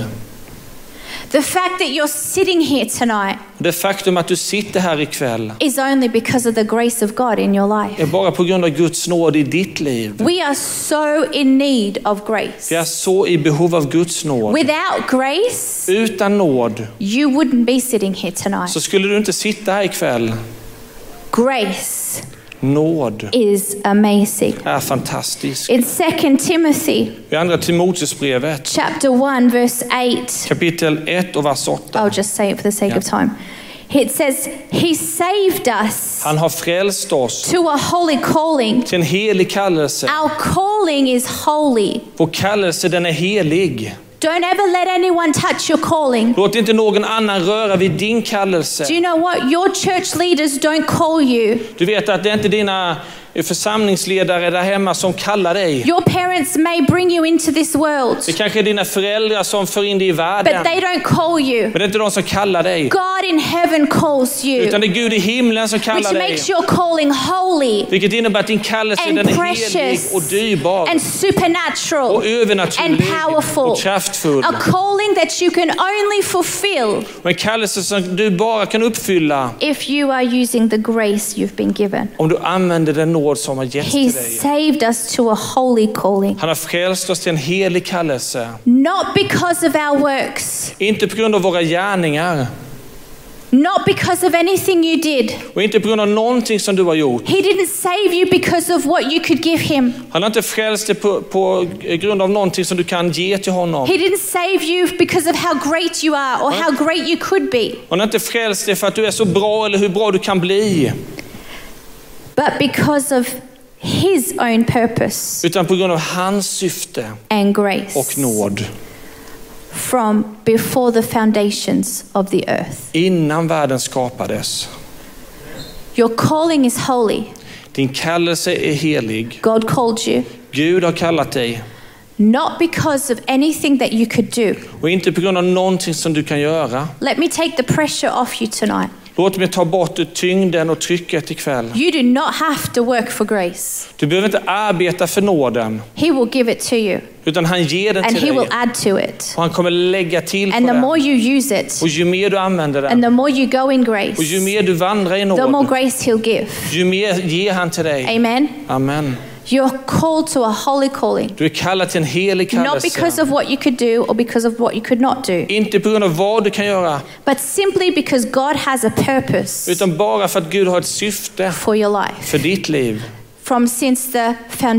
Speaker 2: The fact that you're sitting here tonight
Speaker 3: Det faktum att du sitter här ikväll
Speaker 2: is only because of the grace of God in your life.
Speaker 3: är bara på grund av Guds nåd i ditt liv.
Speaker 2: We are so in need of grace.
Speaker 3: Vi är så i behov av Guds nåd.
Speaker 2: Without grace,
Speaker 3: Utan nåd
Speaker 2: you wouldn't be sitting here tonight.
Speaker 3: så skulle du inte sitta här ikväll.
Speaker 2: Grace
Speaker 3: Nåd
Speaker 2: is amazing.
Speaker 3: är fantastisk.
Speaker 2: In 2 Timothy
Speaker 3: I andra Timoteusbrevet
Speaker 2: chapter 1 verse 8,
Speaker 3: kapitel 1 och vers 8.
Speaker 2: I'll just say it for the sake of
Speaker 3: Yeah.
Speaker 2: time. It says, "He saved us
Speaker 3: Han har frälst oss
Speaker 2: to a holy calling.
Speaker 3: till en helig kallelse.
Speaker 2: Our calling is holy.
Speaker 3: Vår kallelse den är helig.
Speaker 2: Don't ever let anyone touch your calling.
Speaker 3: Låt inte någon annan röra vid din
Speaker 2: Do
Speaker 3: kallelse.
Speaker 2: you know what? Your church leaders don't call you.
Speaker 3: Du vet att det är inte dina församlingsledare där hemma som kallar dig.
Speaker 2: Your parents may bring you into this world,
Speaker 3: Det kanske är dina föräldrar som för in dig i
Speaker 2: but
Speaker 3: världen.
Speaker 2: they don't call you.
Speaker 3: Men det är inte de som kallar dig.
Speaker 2: God in heaven calls you,
Speaker 3: Utan det är Gud i himlen som
Speaker 2: which
Speaker 3: kallar dig.
Speaker 2: makes your calling holy
Speaker 3: Vilket innebär att din kallelse
Speaker 2: And
Speaker 3: den är
Speaker 2: precious.
Speaker 3: helig och dyrbar.
Speaker 2: and supernatural
Speaker 3: Och
Speaker 2: and
Speaker 3: övernaturlig
Speaker 2: powerful.
Speaker 3: och kraftfull.
Speaker 2: A calling that you can only fulfill
Speaker 3: Och en kallelse som du bara kan uppfylla
Speaker 2: if you are using the grace you've been given.
Speaker 3: om du använder den nåd som har
Speaker 2: He
Speaker 3: getts till dig.
Speaker 2: saved us to a holy calling,
Speaker 3: Han har frälst oss till en helig kallelse.
Speaker 2: not because of our works,
Speaker 3: Inte på grund av våra gärningar
Speaker 2: not because of anything you did.
Speaker 3: och inte på grund av någonting som du har gjort.
Speaker 2: He didn't save you because of what you could give him.
Speaker 3: Han har inte frälst dig på, på grund av någonting som du kan ge till honom.
Speaker 2: He didn't save you because of how great you are or how great you could be,
Speaker 3: Han har inte frälst dig för att du är så bra eller hur bra du kan bli.
Speaker 2: but because of his own purpose
Speaker 3: Utan på grund av hans syfte
Speaker 2: and grace
Speaker 3: och nåd.
Speaker 2: from before the foundations of the earth.
Speaker 3: Innan världen skapades.
Speaker 2: Your calling is holy.
Speaker 3: Din kallelse är helig.
Speaker 2: God called you
Speaker 3: Gud har kallat dig.
Speaker 2: not because of anything that you could do.
Speaker 3: Och inte på grund av någonting som du kan göra.
Speaker 2: Let me take the pressure off you tonight.
Speaker 3: Låt mig ta bort tyngden och trycket ikväll.
Speaker 2: You do not have to work for grace.
Speaker 3: Du behöver inte arbeta för nåden.
Speaker 2: He will give it to you
Speaker 3: Utan han ger den
Speaker 2: and
Speaker 3: till
Speaker 2: he
Speaker 3: dig.
Speaker 2: will add to it.
Speaker 3: Och han kommer lägga till på
Speaker 2: And the
Speaker 3: den.
Speaker 2: more you use it,
Speaker 3: Och ju mer du använder
Speaker 2: And
Speaker 3: den.
Speaker 2: the more you go in grace,
Speaker 3: Och ju mer du vandrar i
Speaker 2: the more
Speaker 3: nåd.
Speaker 2: grace He'll give.
Speaker 3: Ju mer ger han till dig.
Speaker 2: Amen.
Speaker 3: Amen.
Speaker 2: You're called to a holy calling,
Speaker 3: Du är kallad till en helig
Speaker 2: not because
Speaker 3: kallelse.
Speaker 2: of what you could do or because of what you could not do,
Speaker 3: Inte på grund av vad du kan göra.
Speaker 2: but simply because God has a purpose
Speaker 3: Utan bara för att Gud har ett syfte
Speaker 2: for your life
Speaker 3: för ditt liv.
Speaker 2: from since the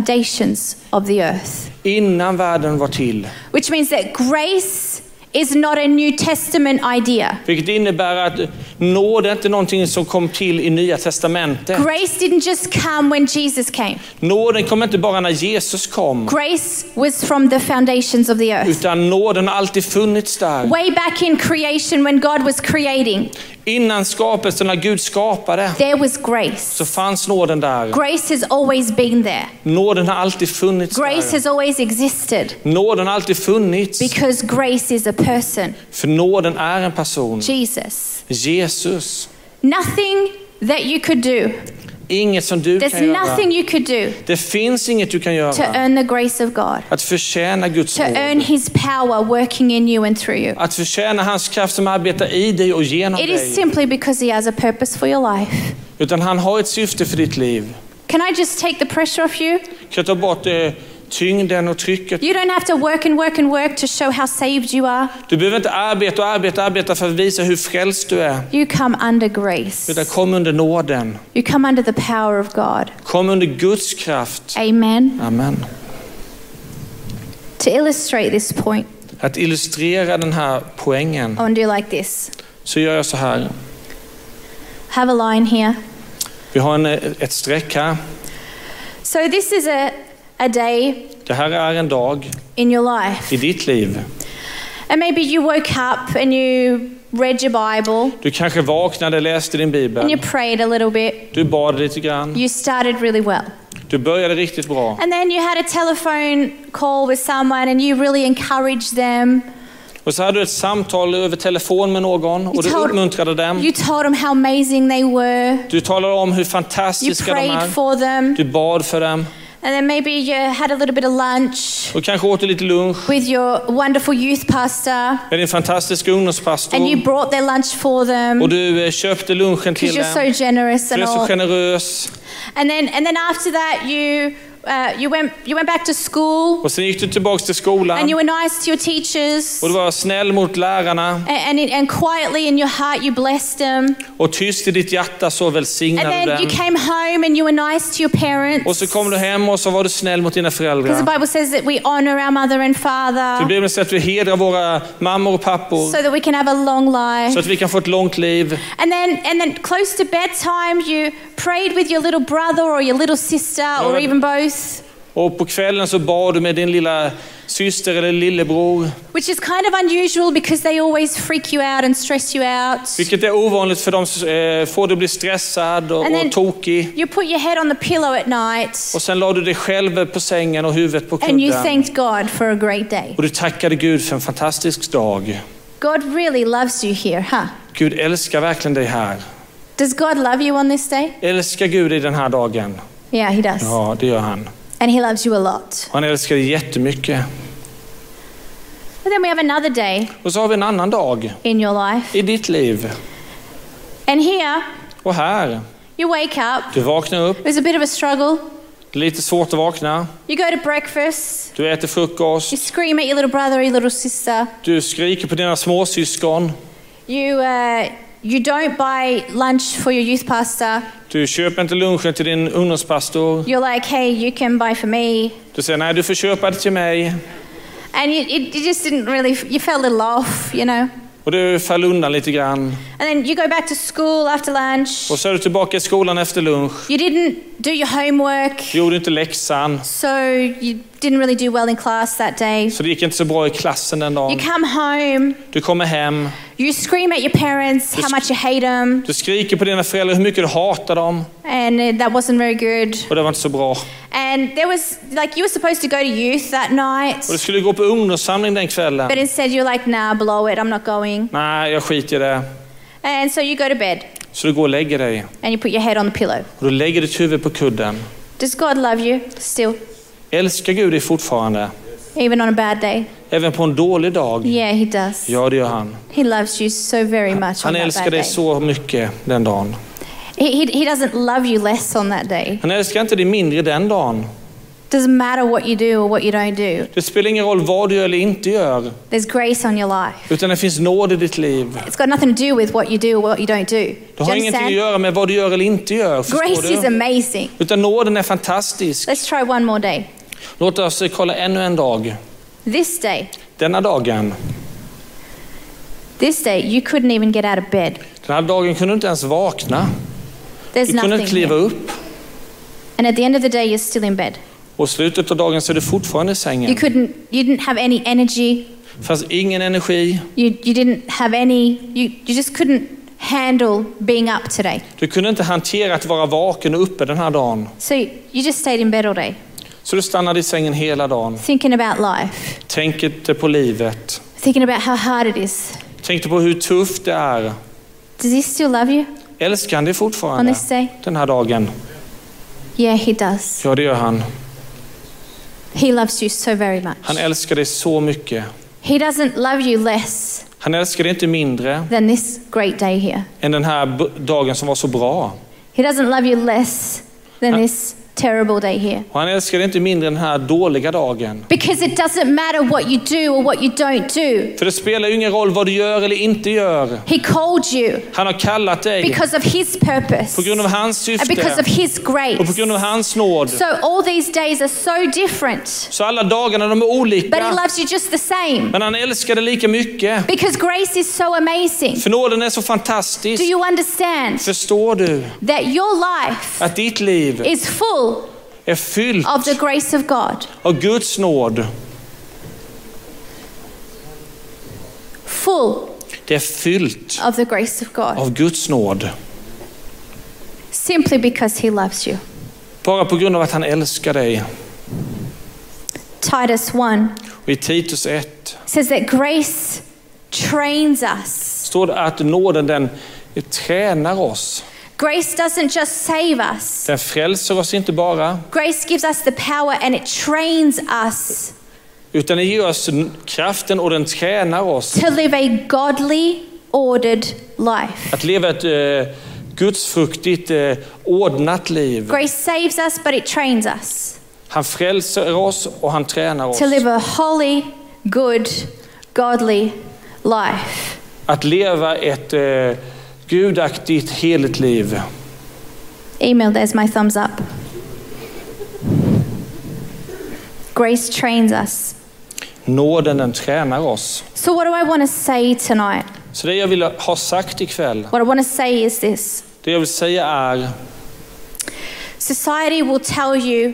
Speaker 2: foundations of the earth.
Speaker 3: Innan världen var till.
Speaker 2: Which means that grace is not a New Testament idea.
Speaker 3: Vilket innebär att nåd är inte någonting som kom till i Nya Testamentet.
Speaker 2: Grace didn't just come when Jesus came.
Speaker 3: Nåden kom inte bara när Jesus kom,
Speaker 2: Grace was from the foundations of the earth.
Speaker 3: utan nåden har alltid funnits där.
Speaker 2: Way back in creation, when God was creating,
Speaker 3: Innan skapelsen, när Gud skapade,
Speaker 2: there was grace.
Speaker 3: så fanns nåden där.
Speaker 2: Grace has always been there.
Speaker 3: Nåden har alltid funnits
Speaker 2: Grace
Speaker 3: där.
Speaker 2: has always existed
Speaker 3: Nåden har alltid funnits.
Speaker 2: because grace is a person,
Speaker 3: För nåden är en person.
Speaker 2: Jesus.
Speaker 3: Jesus.
Speaker 2: Nothing that you could do,
Speaker 3: Inget som du
Speaker 2: there's
Speaker 3: kan göra.
Speaker 2: nothing you could do
Speaker 3: Det finns inget du kan göra.
Speaker 2: to earn the grace of God,
Speaker 3: Att förtjäna Guds
Speaker 2: to earn
Speaker 3: nåd.
Speaker 2: His power working in you and through you.
Speaker 3: Att förtjäna hans kraft som arbetar i dig och genom
Speaker 2: It is
Speaker 3: dig.
Speaker 2: simply because He has a purpose for your life.
Speaker 3: Utan han har ett syfte för ditt liv.
Speaker 2: Can I just take the pressure off you?
Speaker 3: Kan jag ta bort eh, tyngden och trycket.
Speaker 2: You don't have to work and work and work to show how saved you are.
Speaker 3: Du behöver inte arbeta och arbeta och arbeta för att visa hur frälst du är.
Speaker 2: You come under grace.
Speaker 3: Utan kom under nåden.
Speaker 2: You come under the power of God.
Speaker 3: Kom under Guds kraft.
Speaker 2: Amen.
Speaker 3: Amen.
Speaker 2: To illustrate this point,
Speaker 3: Att illustrera den här poängen
Speaker 2: I want to do like this.
Speaker 3: så gör jag så här.
Speaker 2: Have a line here.
Speaker 3: Vi har en, eh, ett streck här.
Speaker 2: So this is a, a day
Speaker 3: Det här är en dag
Speaker 2: in your life.
Speaker 3: i ditt liv.
Speaker 2: And maybe you woke up and you read your Bible
Speaker 3: Du kanske vaknade, läste din
Speaker 2: and you
Speaker 3: bibel.
Speaker 2: prayed a little bit.
Speaker 3: Du bad lite grann.
Speaker 2: You started really well.
Speaker 3: Du började riktigt bra.
Speaker 2: And then you had a telephone call with someone and you really encouraged them.
Speaker 3: Och så hade du ett samtal över telefon med någon och du uppmuntrade dem.
Speaker 2: You told them how amazing they were.
Speaker 3: Du talade om hur
Speaker 2: You
Speaker 3: fantastiska de
Speaker 2: prayed
Speaker 3: är.
Speaker 2: for them.
Speaker 3: Du bad för dem.
Speaker 2: And then maybe you had a little bit of lunch
Speaker 3: Och kanske åt du lite lunch
Speaker 2: with your wonderful youth pastor
Speaker 3: med din fantastiska
Speaker 2: and you
Speaker 3: ungdomspastor.
Speaker 2: brought their lunch for them
Speaker 3: Och du eh, köpte lunchen till
Speaker 2: because you're
Speaker 3: dem.
Speaker 2: so generous
Speaker 3: Du
Speaker 2: and
Speaker 3: är så
Speaker 2: all.
Speaker 3: generös.
Speaker 2: And then and then after that you uh, you went you went back to school
Speaker 3: Och sen gick du tillbaks till
Speaker 2: and you
Speaker 3: skolan
Speaker 2: were nice to your teachers
Speaker 3: och du var snäll mot lärarna
Speaker 2: and, and and quietly in your heart you blessed them.
Speaker 3: och tyst i ditt hjärta så
Speaker 2: And
Speaker 3: välsignade du
Speaker 2: then you
Speaker 3: dem.
Speaker 2: came home and you were nice to your parents.
Speaker 3: Och så kom du hem och så var du snäll mot dina
Speaker 2: Because the
Speaker 3: föräldrar.
Speaker 2: Bible says that we honor our mother and
Speaker 3: För
Speaker 2: father
Speaker 3: Bibeln säger att vi hedrar våra mammor och pappor
Speaker 2: so that we can have a long life.
Speaker 3: så att vi kan få ett långt liv.
Speaker 2: And then, and then close to bedtime, you prayed with your little brother or your little sister or
Speaker 3: but-
Speaker 2: even both,
Speaker 3: Och på kvällen så bad du med din lilla syster eller lillebror.
Speaker 2: which is kind of unusual because they always freak you out and stress you out.
Speaker 3: Vilket är ovanligt för de eh, får du bli stressad och,
Speaker 2: And then-
Speaker 3: och tokig.
Speaker 2: You put your head on the pillow at night
Speaker 3: Och sen la du dig själv på sängen och huvudet på
Speaker 2: and you
Speaker 3: kudden.
Speaker 2: thanked God for a great day.
Speaker 3: Och du tackade Gud för en fantastisk dag.
Speaker 2: God really loves you here, huh?
Speaker 3: Gud älskar verkligen dig här.
Speaker 2: Does God love you on this day?
Speaker 3: Älskar Gud i den här dagen?
Speaker 2: Yeah, He does.
Speaker 3: Ja, det gör han.
Speaker 2: And He loves you a lot.
Speaker 3: Han älskar dig jättemycket.
Speaker 2: But then we have another day
Speaker 3: Och så har vi en annan dag
Speaker 2: in your life.
Speaker 3: i ditt liv.
Speaker 2: And here,
Speaker 3: Och här,
Speaker 2: you wake up.
Speaker 3: du vaknar upp,
Speaker 2: It was a bit of a struggle.
Speaker 3: det är lite svårt att vakna.
Speaker 2: You go to breakfast.
Speaker 3: Du äter frukost,
Speaker 2: You scream at your little brother or your little sister.
Speaker 3: du skriker på dina småsyskon.
Speaker 2: You, uh, you don't buy lunch for your youth pastor.
Speaker 3: Du köper inte lunchen till din ungdomspastor.
Speaker 2: You're like, hey, you can buy for me.
Speaker 3: Du säger nej, du får köpa det till mig.
Speaker 2: And you, it, you just didn't really, you fell a little off, you know.
Speaker 3: Och du faller undan lite grann.
Speaker 2: And then you go back to school after lunch.
Speaker 3: Och så är du tillbaka i skolan efter lunch.
Speaker 2: You didn't do your homework,
Speaker 3: Du gjorde inte läxan,
Speaker 2: so you didn't really do well in class that day.
Speaker 3: så det gick inte så bra i klassen den
Speaker 2: You
Speaker 3: dagen.
Speaker 2: come home,
Speaker 3: Du kommer hem,
Speaker 2: you scream at your parents how much you hate them,
Speaker 3: du skriker på dina föräldrar hur mycket du hatar dem.
Speaker 2: and uh, that wasn't very good.
Speaker 3: Och det var inte så bra.
Speaker 2: And there was, like, you were supposed to go to youth that night.
Speaker 3: Och du skulle gå på ungdomssamling den kvällen.
Speaker 2: But instead, you're like, nah, blow it, I'm not going.
Speaker 3: Nej, jag skiter i det.
Speaker 2: And so you go to bed
Speaker 3: Så du går och lägger dig.
Speaker 2: and you put your head on the pillow.
Speaker 3: Och du lägger ditt huvud på kudden.
Speaker 2: Does God love you still,
Speaker 3: Älskar Gud dig fortfarande?
Speaker 2: even on a bad day?
Speaker 3: Även på en dålig dag?
Speaker 2: Yeah, He does.
Speaker 3: Ja, det gör han.
Speaker 2: He loves you so very much on
Speaker 3: Han
Speaker 2: that
Speaker 3: älskar
Speaker 2: bad
Speaker 3: dig
Speaker 2: day.
Speaker 3: så mycket den dagen.
Speaker 2: He, he, he doesn't love you less on that day.
Speaker 3: Han älskar inte dig mindre den dagen.
Speaker 2: Doesn't matter what you do or what you don't do.
Speaker 3: Det spelar ingen roll vad du gör eller inte gör,
Speaker 2: There's grace on your life.
Speaker 3: utan det finns nåd i ditt liv.
Speaker 2: It's got nothing to do with what you do or what you don't do.
Speaker 3: Det
Speaker 2: Do you
Speaker 3: har ingenting att
Speaker 2: understand?
Speaker 3: göra med vad du gör eller inte gör, förstår
Speaker 2: Grace is
Speaker 3: du?
Speaker 2: amazing.
Speaker 3: Utan nåden är fantastisk.
Speaker 2: Let's try one more day.
Speaker 3: Låt oss kolla ännu en dag.
Speaker 2: This day,
Speaker 3: Denna dagen,
Speaker 2: this day, you couldn't even get out of bed.
Speaker 3: den här dagen kunde du inte ens vakna.
Speaker 2: There's
Speaker 3: Du kunde
Speaker 2: nothing.
Speaker 3: inte kliva
Speaker 2: here.
Speaker 3: upp.
Speaker 2: And at the end of the day, you're still in bed.
Speaker 3: Och i slutet av dagen så är du fortfarande i
Speaker 2: You
Speaker 3: sängen.
Speaker 2: couldn't, you didn't have any energy.
Speaker 3: Det fanns ingen energi.
Speaker 2: You, you didn't have any, you, you just couldn't handle being up today.
Speaker 3: Du kunde inte hantera att vara vaken och uppe den här dagen.
Speaker 2: So you just stayed in bed all day,
Speaker 3: Så du stannade i sängen hela dagen.
Speaker 2: thinking about life,
Speaker 3: Tänkte på livet.
Speaker 2: thinking about how hard it is.
Speaker 3: Tänkte på hur tufft det är.
Speaker 2: Does he still love you
Speaker 3: Älskar han dig
Speaker 2: on
Speaker 3: fortfarande?
Speaker 2: this day?
Speaker 3: Den här dagen.
Speaker 2: Yeah, he does.
Speaker 3: Ja, det gör han.
Speaker 2: He loves you so very much.
Speaker 3: Han älskar dig så mycket.
Speaker 2: He doesn't love you less
Speaker 3: Han älskar dig inte mindre
Speaker 2: than this great day here.
Speaker 3: än den här b- dagen som var så bra.
Speaker 2: He doesn't love you less than this terrible day here.
Speaker 3: Och han älskar dig inte mindre än den här dåliga dagen.
Speaker 2: Because it doesn't matter what you do or what you don't do.
Speaker 3: För det spelar ju ingen roll vad du gör eller inte gör.
Speaker 2: He called you
Speaker 3: Han har kallat dig
Speaker 2: because of his purpose
Speaker 3: på grund av
Speaker 2: and
Speaker 3: hans
Speaker 2: because
Speaker 3: syfte
Speaker 2: of his
Speaker 3: och på
Speaker 2: grace.
Speaker 3: grund av hans nåd.
Speaker 2: So all these days are so different,
Speaker 3: Så alla dagarna de är
Speaker 2: but he
Speaker 3: olika.
Speaker 2: loves you just the same
Speaker 3: Men han älskar dig lika mycket.
Speaker 2: because grace is so amazing.
Speaker 3: För nåden är så
Speaker 2: Do
Speaker 3: fantastisk.
Speaker 2: you understand
Speaker 3: Förstår du
Speaker 2: that your life
Speaker 3: att ditt liv
Speaker 2: is full
Speaker 3: är fyllt
Speaker 2: of the grace of God?
Speaker 3: av Guds nåd?
Speaker 2: Full
Speaker 3: Det är fyllt
Speaker 2: of the grace of God.
Speaker 3: av Guds nåd.
Speaker 2: Simply because he loves you.
Speaker 3: Bara på grund av att han älskar dig.
Speaker 2: Titus 1
Speaker 3: Och i Titus 1
Speaker 2: says that grace trains us.
Speaker 3: står det att nåden den tränar oss.
Speaker 2: Grace doesn't just save us,
Speaker 3: Den frälser oss inte bara,
Speaker 2: grace gives us the power and it trains us
Speaker 3: utan den ger oss kraften och den tränar oss
Speaker 2: to live a godly, ordered life.
Speaker 3: att leva ett eh, gudsfruktigt, eh, ordnat liv.
Speaker 2: Grace saves us, but it trains us
Speaker 3: Han frälser oss och han tränar oss
Speaker 2: to live a holy, good, godly life.
Speaker 3: att leva ett eh, gudaktigt, heligt liv.
Speaker 2: Email, there's my thumbs up. Grace trains us.
Speaker 3: Nåden den tränar oss.
Speaker 2: So, what do I want to say tonight?
Speaker 3: Så det jag vill ha sagt ikväll,
Speaker 2: What I want to say is this
Speaker 3: det jag vill säga är
Speaker 2: society will tell you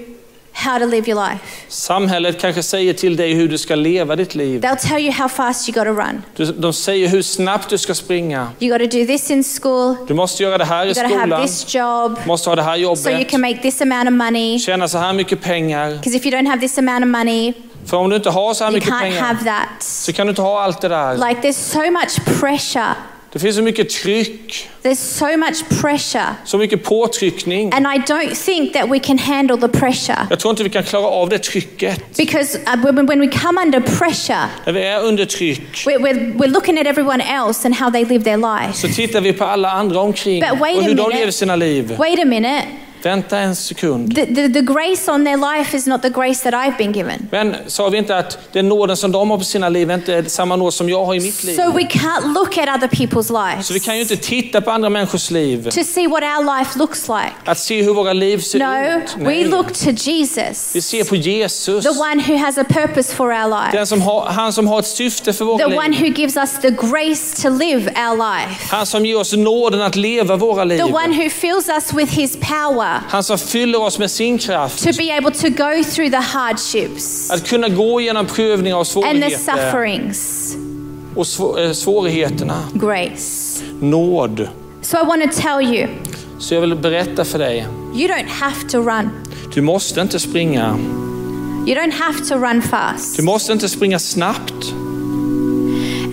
Speaker 2: how to live your life.
Speaker 3: Samhället kanske säger till dig hur du ska leva ditt liv.
Speaker 2: They'll tell you how fast you got to run.
Speaker 3: Du- De säger hur snabbt du ska springa.
Speaker 2: You got to do this in school,
Speaker 3: Du måste göra det här i
Speaker 2: you got to have
Speaker 3: skolan.
Speaker 2: this job
Speaker 3: måste ha det här
Speaker 2: so you
Speaker 3: jobbet.
Speaker 2: can make this amount of money.
Speaker 3: Tjäna så här mycket pengar.
Speaker 2: Because if you don't have this amount of money,
Speaker 3: För om du inte har så här
Speaker 2: you
Speaker 3: mycket
Speaker 2: can't
Speaker 3: pengar
Speaker 2: have that.
Speaker 3: så kan du inte ha allt det där.
Speaker 2: Like, there's so much pressure.
Speaker 3: Det finns så mycket tryck,
Speaker 2: There's so much pressure.
Speaker 3: så mycket påtryckning.
Speaker 2: And I don't think that we can handle the pressure.
Speaker 3: Jag tror inte vi kan klara av det trycket.
Speaker 2: Because uh, when when we come under pressure,
Speaker 3: När vi är under tryck
Speaker 2: we're, we're, we're looking at everyone else and how they live their life.
Speaker 3: så tittar vi på alla andra omkring
Speaker 2: But wait a
Speaker 3: och hur de
Speaker 2: minute.
Speaker 3: lever sina liv.
Speaker 2: Wait a minute.
Speaker 3: Vänta en sekund.
Speaker 2: The, the, the grace on their life is not the grace that I've been given.
Speaker 3: Men sa vi inte att den nåden som de har på sina liv är inte är samma nåd som jag har i mitt liv?
Speaker 2: So we can't look at other people's lives
Speaker 3: Så vi kan ju inte titta på andra människors liv.
Speaker 2: to see what our life looks like.
Speaker 3: Att se hur våra liv ser
Speaker 2: No,
Speaker 3: ut.
Speaker 2: we
Speaker 3: Nej.
Speaker 2: look to Jesus,
Speaker 3: Vi ser på Jesus.
Speaker 2: the one who has a purpose for our life,
Speaker 3: Den som har, han som har ett syfte för våra
Speaker 2: the one
Speaker 3: liv.
Speaker 2: who gives us the grace to live our life,
Speaker 3: Han som ger oss nåden att leva våra liv.
Speaker 2: the one who fills us with his power
Speaker 3: Han som fyller oss med sin kraft.
Speaker 2: to be able to go through the hardships
Speaker 3: Att kunna gå igenom prövningar och
Speaker 2: and the
Speaker 3: svårigheter.
Speaker 2: sufferings.
Speaker 3: Och sv- eh, svårigheterna.
Speaker 2: Grace.
Speaker 3: Nåd.
Speaker 2: So I want to tell you,
Speaker 3: Så jag vill berätta för dig.
Speaker 2: you don't have to run.
Speaker 3: Du måste inte springa.
Speaker 2: You don't have to run
Speaker 3: Du
Speaker 2: fast.
Speaker 3: måste inte springa snabbt.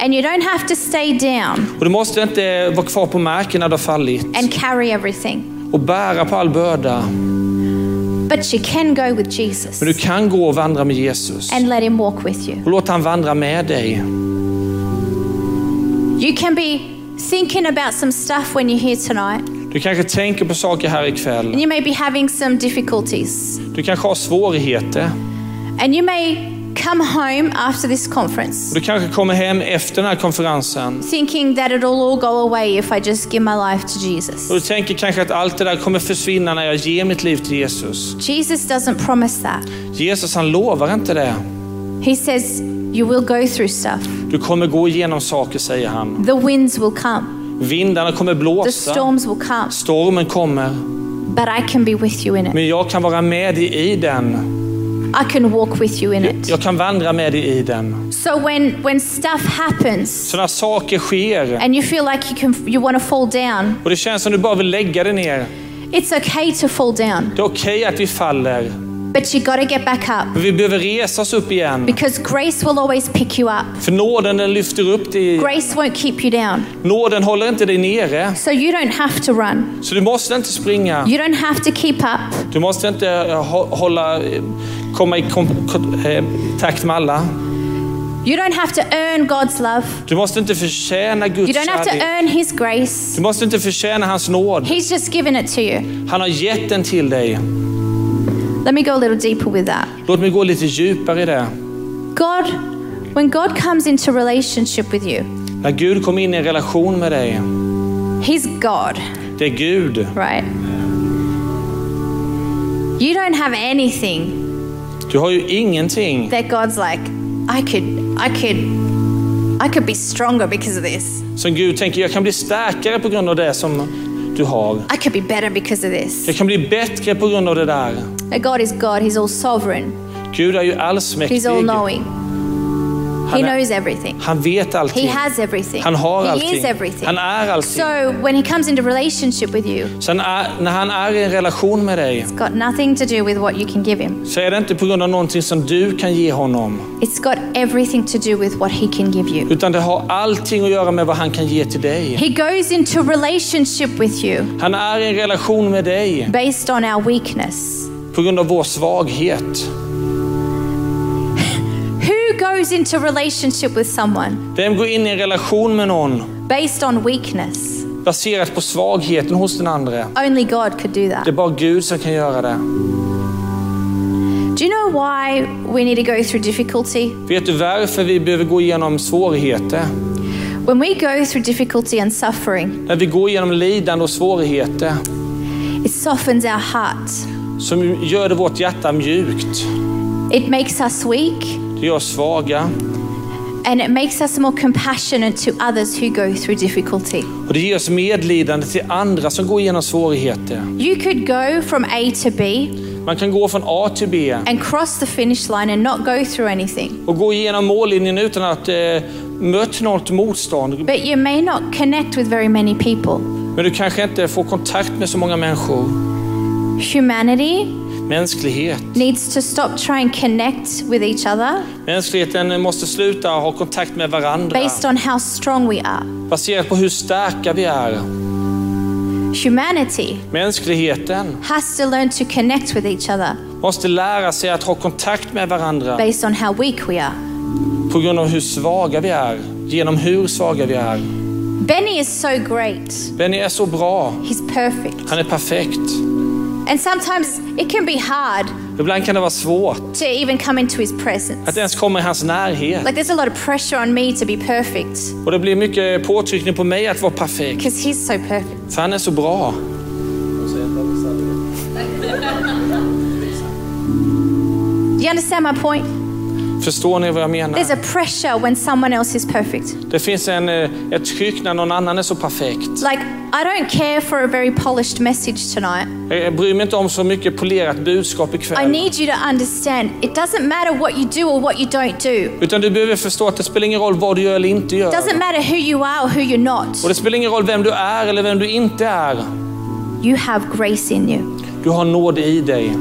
Speaker 2: And you don't have to stay down
Speaker 3: Och du måste inte vara kvar på marken när du har fallit.
Speaker 2: and carry everything.
Speaker 3: Och bära på all börda.
Speaker 2: But you can go with Jesus
Speaker 3: Men du kan gå och vandra med Jesus.
Speaker 2: and let him walk with you.
Speaker 3: Och låt han vandra med dig.
Speaker 2: You can be thinking about some stuff when you're here tonight,
Speaker 3: Du kanske tänker på saker här
Speaker 2: and
Speaker 3: ikväll.
Speaker 2: you may be having some difficulties.
Speaker 3: Du kanske har svårigheter.
Speaker 2: And you may come home after this conference
Speaker 3: Du kanske kommer hem efter den här konferensen.
Speaker 2: thinking that it'll all go away if I just give my life to Jesus.
Speaker 3: Och du tänker kanske att allt det där kommer försvinna när jag ger mitt liv till Jesus.
Speaker 2: Jesus doesn't promise that.
Speaker 3: Jesus han lovar inte det.
Speaker 2: He says, You will go through stuff,
Speaker 3: Du kommer gå igenom saker säger han.
Speaker 2: the winds will come,
Speaker 3: Vindarna kommer
Speaker 2: the
Speaker 3: blåsa.
Speaker 2: storms will come,
Speaker 3: Stormen kommer.
Speaker 2: but I can be with you in it.
Speaker 3: Men jag kan vara med dig i den.
Speaker 2: I can walk with you in it.
Speaker 3: Jag kan vandra med dig i den.
Speaker 2: So when when stuff happens
Speaker 3: Så när saker sker
Speaker 2: and you feel like you can you want to fall down,
Speaker 3: och det känns som du bara vill lägga dig ner.
Speaker 2: it's okay to fall down,
Speaker 3: Det är okej att vi faller.
Speaker 2: but you got to get back up
Speaker 3: Men vi behöver resa oss upp igen.
Speaker 2: because grace will always pick you up.
Speaker 3: För nåden den lyfter upp dig.
Speaker 2: Grace won't keep you down.
Speaker 3: Nåden håller inte dig nere.
Speaker 2: So you don't have to run.
Speaker 3: Så du måste inte springa.
Speaker 2: You don't have to keep up.
Speaker 3: Du måste inte eh, hå- hålla, eh, komma i kom- ko- eh, takt med alla.
Speaker 2: You don't have to earn God's love.
Speaker 3: Du måste inte förtjäna
Speaker 2: You
Speaker 3: Guds
Speaker 2: don't have to
Speaker 3: kärlek.
Speaker 2: earn His grace.
Speaker 3: Du måste inte förtjäna hans nåd.
Speaker 2: He's just given it to you.
Speaker 3: Han har gett den till dig.
Speaker 2: Let me go a little deeper with that.
Speaker 3: Låt mig gå lite djupare i det.
Speaker 2: God, when God comes into relationship with you,
Speaker 3: När Gud kom in i en relation med dig,
Speaker 2: He's God,
Speaker 3: det är Gud.
Speaker 2: right? You don't have anything
Speaker 3: Du har ju ingenting
Speaker 2: that God's like, I could, I could, I could be stronger because of this.
Speaker 3: som Gud tänker, jag kan bli starkare på grund av det som du har.
Speaker 2: I could be better because of this.
Speaker 3: Jag kan bli bättre på grund av det där.
Speaker 2: But God is God. He's all sovereign.
Speaker 3: Gud är ju
Speaker 2: He's
Speaker 3: allsmäktig.
Speaker 2: all knowing. He
Speaker 3: Han, är,
Speaker 2: knows everything.
Speaker 3: han vet
Speaker 2: He
Speaker 3: allting.
Speaker 2: has everything.
Speaker 3: Han har
Speaker 2: He
Speaker 3: allting.
Speaker 2: is everything.
Speaker 3: Han är allting.
Speaker 2: So when he comes into relationship with you,
Speaker 3: Så han är, när han är i en relation med dig
Speaker 2: it's got nothing to do with what you can give him.
Speaker 3: så är det inte på grund av någonting som du kan ge honom.
Speaker 2: It's got everything to do with what he can give you.
Speaker 3: Utan det har allting att göra med vad han kan ge till dig.
Speaker 2: He goes into relationship with you
Speaker 3: Han är i en relation med dig
Speaker 2: based on our weakness.
Speaker 3: på grund av vår svaghet.
Speaker 2: Who goes into relationship with someone
Speaker 3: Vem går in i en relation med någon
Speaker 2: based on weakness?
Speaker 3: baserat på svagheten hos den andra?
Speaker 2: Only God could do that.
Speaker 3: Det är bara Gud som kan göra det.
Speaker 2: Do you know why we need to go through difficulty?
Speaker 3: Vet du varför vi behöver gå igenom svårigheter?
Speaker 2: When we go through difficulty and suffering,
Speaker 3: När vi går igenom lidande och svårigheter
Speaker 2: it softens our heart.
Speaker 3: som gör det vårt hjärta mjukt.
Speaker 2: It makes us weak
Speaker 3: Det gör oss svaga
Speaker 2: and it makes us more compassionate to others who go through difficulty.
Speaker 3: och det ger oss medlidande till andra som går igenom svårigheter.
Speaker 2: You could go from A to B
Speaker 3: Man kan gå från A till B
Speaker 2: and cross the finish line and not go through anything,
Speaker 3: och gå igenom mållinjen utan att eh, mött något motstånd.
Speaker 2: but you may not connect with very many people.
Speaker 3: Men du kanske inte får kontakt med så många människor.
Speaker 2: Humanity
Speaker 3: Mänsklighet.
Speaker 2: needs to stop trying to connect with each other
Speaker 3: Mänskligheten måste sluta ha kontakt med varandra
Speaker 2: based on how strong we are.
Speaker 3: baserat på hur starka vi är.
Speaker 2: Humanity
Speaker 3: Mänskligheten
Speaker 2: has to learn to connect with each other
Speaker 3: måste lära sig att ha kontakt med varandra
Speaker 2: based on how weak we are.
Speaker 3: på grund av hur svaga vi är, genom hur svaga vi är.
Speaker 2: Benny is so great.
Speaker 3: Benny är så bra,
Speaker 2: He's perfect.
Speaker 3: han är perfekt.
Speaker 2: And sometimes it can be hard
Speaker 3: Ibland kan det vara svårt
Speaker 2: to even come into his
Speaker 3: att
Speaker 2: presence.
Speaker 3: ens komma i hans närhet.
Speaker 2: Like there's a lot of pressure on me to be perfect
Speaker 3: Och det blir mycket påtryckning på mig att vara perfekt,
Speaker 2: because he's so perfect.
Speaker 3: för han är så bra.
Speaker 2: Do you understand my point?
Speaker 3: Förstår ni vad jag menar?
Speaker 2: There's a pressure when someone else is perfect.
Speaker 3: Det finns en, eh, ett tryck när någon annan är så perfekt.
Speaker 2: Like I don't care for a very polished message tonight.
Speaker 3: Jag jag bryr mig inte om så mycket polerat budskap
Speaker 2: I
Speaker 3: ikväll.
Speaker 2: need you to understand it doesn't matter what you do or what you don't do.
Speaker 3: Utan du behöver förstå att det spelar ingen roll vad du gör eller inte
Speaker 2: It
Speaker 3: gör.
Speaker 2: doesn't matter who you are or who you're not.
Speaker 3: Och det spelar ingen roll vem du är eller vem du inte är.
Speaker 2: You have grace in you
Speaker 3: Du har nåd i dig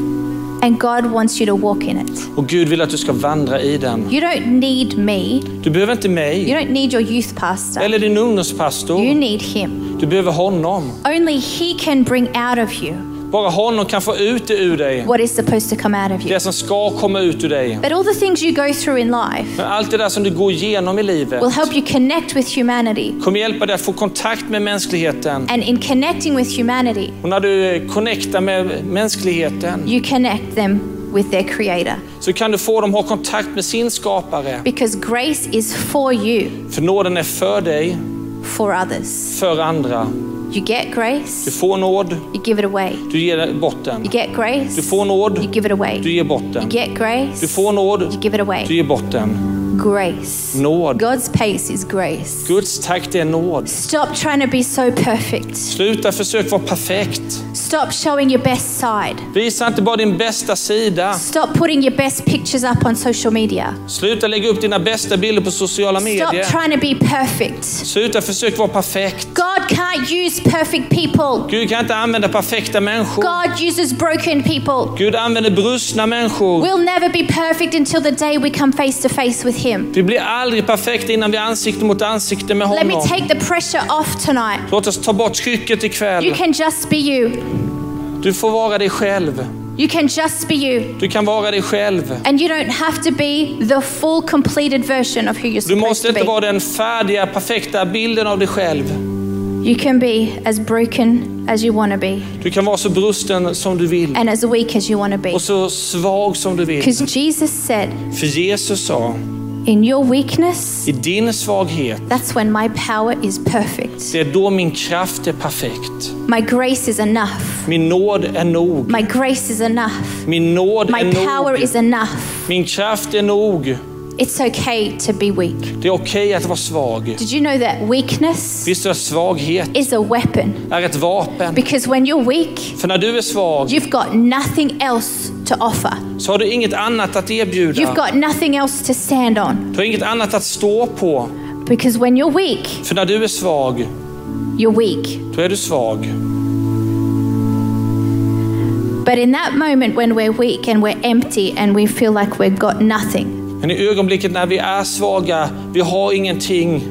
Speaker 2: and God wants you to walk in it.
Speaker 3: och Gud vill att du ska vandra i den.
Speaker 2: You don't need me.
Speaker 3: Du behöver inte
Speaker 2: You
Speaker 3: mig
Speaker 2: don't need your youth pastor.
Speaker 3: eller din
Speaker 2: You
Speaker 3: ungdomspastor.
Speaker 2: need him.
Speaker 3: Du behöver honom.
Speaker 2: Only he can bring out of you
Speaker 3: Bara honom kan få ut det ur dig.
Speaker 2: what is supposed to come out of you.
Speaker 3: Det som ska komma ut ur dig.
Speaker 2: But all the things you go through in life
Speaker 3: Men allt det där som du går igenom i livet
Speaker 2: will help you connect with humanity.
Speaker 3: kommer hjälpa dig att få kontakt med mänskligheten.
Speaker 2: And in connecting with humanity,
Speaker 3: Och när du eh, connectar med mänskligheten
Speaker 2: you connect them with their creator.
Speaker 3: så kan du få dem att ha kontakt med sin skapare.
Speaker 2: Because grace is for you,
Speaker 3: För nåden är för dig,
Speaker 2: for others.
Speaker 3: för andra.
Speaker 2: You get
Speaker 3: Du
Speaker 2: grace,
Speaker 3: får nåd,
Speaker 2: you give it away.
Speaker 3: du ger bort den.
Speaker 2: You get grace,
Speaker 3: Du får nåd,
Speaker 2: you give it away.
Speaker 3: du ger bort
Speaker 2: You
Speaker 3: den.
Speaker 2: get grace,
Speaker 3: Du får
Speaker 2: you
Speaker 3: nåd,
Speaker 2: give it
Speaker 3: du
Speaker 2: away.
Speaker 3: ger bort den.
Speaker 2: grace.
Speaker 3: Nåd.
Speaker 2: God's pace is grace.
Speaker 3: Guds takt är nåd.
Speaker 2: Stop trying to be so perfect.
Speaker 3: Sluta försök vara perfekt.
Speaker 2: Stop showing your best side.
Speaker 3: Visa inte bara din bästa sida.
Speaker 2: Stop putting your best pictures up on social media.
Speaker 3: Sluta lägga upp dina bästa bilder på sociala
Speaker 2: Stop
Speaker 3: medier.
Speaker 2: trying to be perfect.
Speaker 3: Sluta försök vara perfekt.
Speaker 2: God can't use perfect people.
Speaker 3: Gud kan inte använda perfekta människor.
Speaker 2: God uses broken people.
Speaker 3: Gud använder brustna människor.
Speaker 2: We'll never be perfect until the day we come face to face with Him.
Speaker 3: Vi blir aldrig perfekta innan vi är ansikte mot ansikte med
Speaker 2: Let me
Speaker 3: honom.
Speaker 2: take the pressure off tonight.
Speaker 3: Låt oss ta bort trycket
Speaker 2: You
Speaker 3: ikväll.
Speaker 2: can just be you.
Speaker 3: Du får vara dig själv.
Speaker 2: You can just be you.
Speaker 3: Du kan vara dig själv.
Speaker 2: And you don't have to be the full completed version of who you're
Speaker 3: Du
Speaker 2: supposed
Speaker 3: måste
Speaker 2: to
Speaker 3: inte vara
Speaker 2: be.
Speaker 3: den färdiga, perfekta bilden av dig själv.
Speaker 2: You can be as broken as you want to be
Speaker 3: Du kan vara så brusten som du vill
Speaker 2: and as weak as you want to be.
Speaker 3: och så svag som du vill.
Speaker 2: Because Jesus said,
Speaker 3: För Jesus sa,
Speaker 2: In your weakness,
Speaker 3: i din svaghet,
Speaker 2: that's when my power is perfect.
Speaker 3: det är då min kraft är perfekt.
Speaker 2: My grace is enough.
Speaker 3: Min nåd är nog.
Speaker 2: My grace is enough.
Speaker 3: Min nåd
Speaker 2: My
Speaker 3: är
Speaker 2: power
Speaker 3: nog.
Speaker 2: is enough.
Speaker 3: Min kraft är nog.
Speaker 2: It's okay to be weak.
Speaker 3: Det är okej att vara svag.
Speaker 2: Did you know that weakness
Speaker 3: Visst är svaghet
Speaker 2: is a weapon?
Speaker 3: är ett vapen.
Speaker 2: Because when you're weak,
Speaker 3: För när du är svag
Speaker 2: you've got nothing else to offer.
Speaker 3: så har du inget annat att
Speaker 2: You've
Speaker 3: erbjuda.
Speaker 2: got nothing else to stand on.
Speaker 3: Du har inget annat att stå på.
Speaker 2: Because when you're weak,
Speaker 3: För när du är svag,
Speaker 2: you're weak.
Speaker 3: då är du svag.
Speaker 2: But in that moment when we're weak and we're empty and we feel like we've got nothing,
Speaker 3: Men i ögonblicket när vi är svaga, vi har ingenting,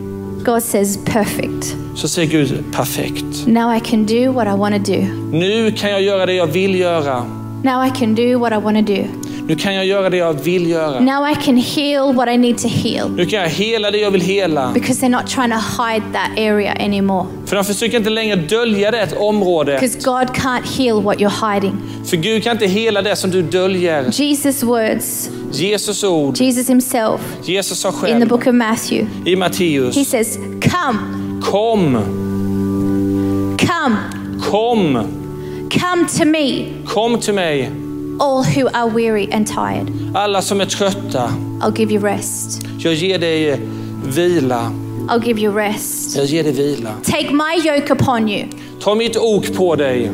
Speaker 2: God says, Perfect.
Speaker 3: så säger Gud perfekt.
Speaker 2: Now I can do what I want to do.
Speaker 3: Nu kan jag göra det jag vill göra.
Speaker 2: Now I can do what I want to do.
Speaker 3: Nu kan jag göra det jag vill göra.
Speaker 2: Now I can heal what I need to heal.
Speaker 3: Nu kan jag hela det jag vill hela.
Speaker 2: Because they're not trying to hide that area anymore.
Speaker 3: För de försöker inte längre dölja det ett område.
Speaker 2: Because God can't heal what you're hiding.
Speaker 3: För Gud kan inte hela det som du döljer.
Speaker 2: Jesus' words,
Speaker 3: Jesus ord,
Speaker 2: Jesus himself
Speaker 3: Jesus sa
Speaker 2: in the
Speaker 3: själv
Speaker 2: book of Matthew,
Speaker 3: i
Speaker 2: he
Speaker 3: Matteus.
Speaker 2: says, Come,
Speaker 3: Kom,
Speaker 2: come,
Speaker 3: kom,
Speaker 2: come to me,
Speaker 3: kom till mig.
Speaker 2: all who are weary and tired.
Speaker 3: Alla som är trötta,
Speaker 2: I'll give you rest.
Speaker 3: jag ger dig vila.
Speaker 2: I'll give you rest.
Speaker 3: Jag ger dig vila.
Speaker 2: Take my yoke upon you,
Speaker 3: Ta mitt ok på dig.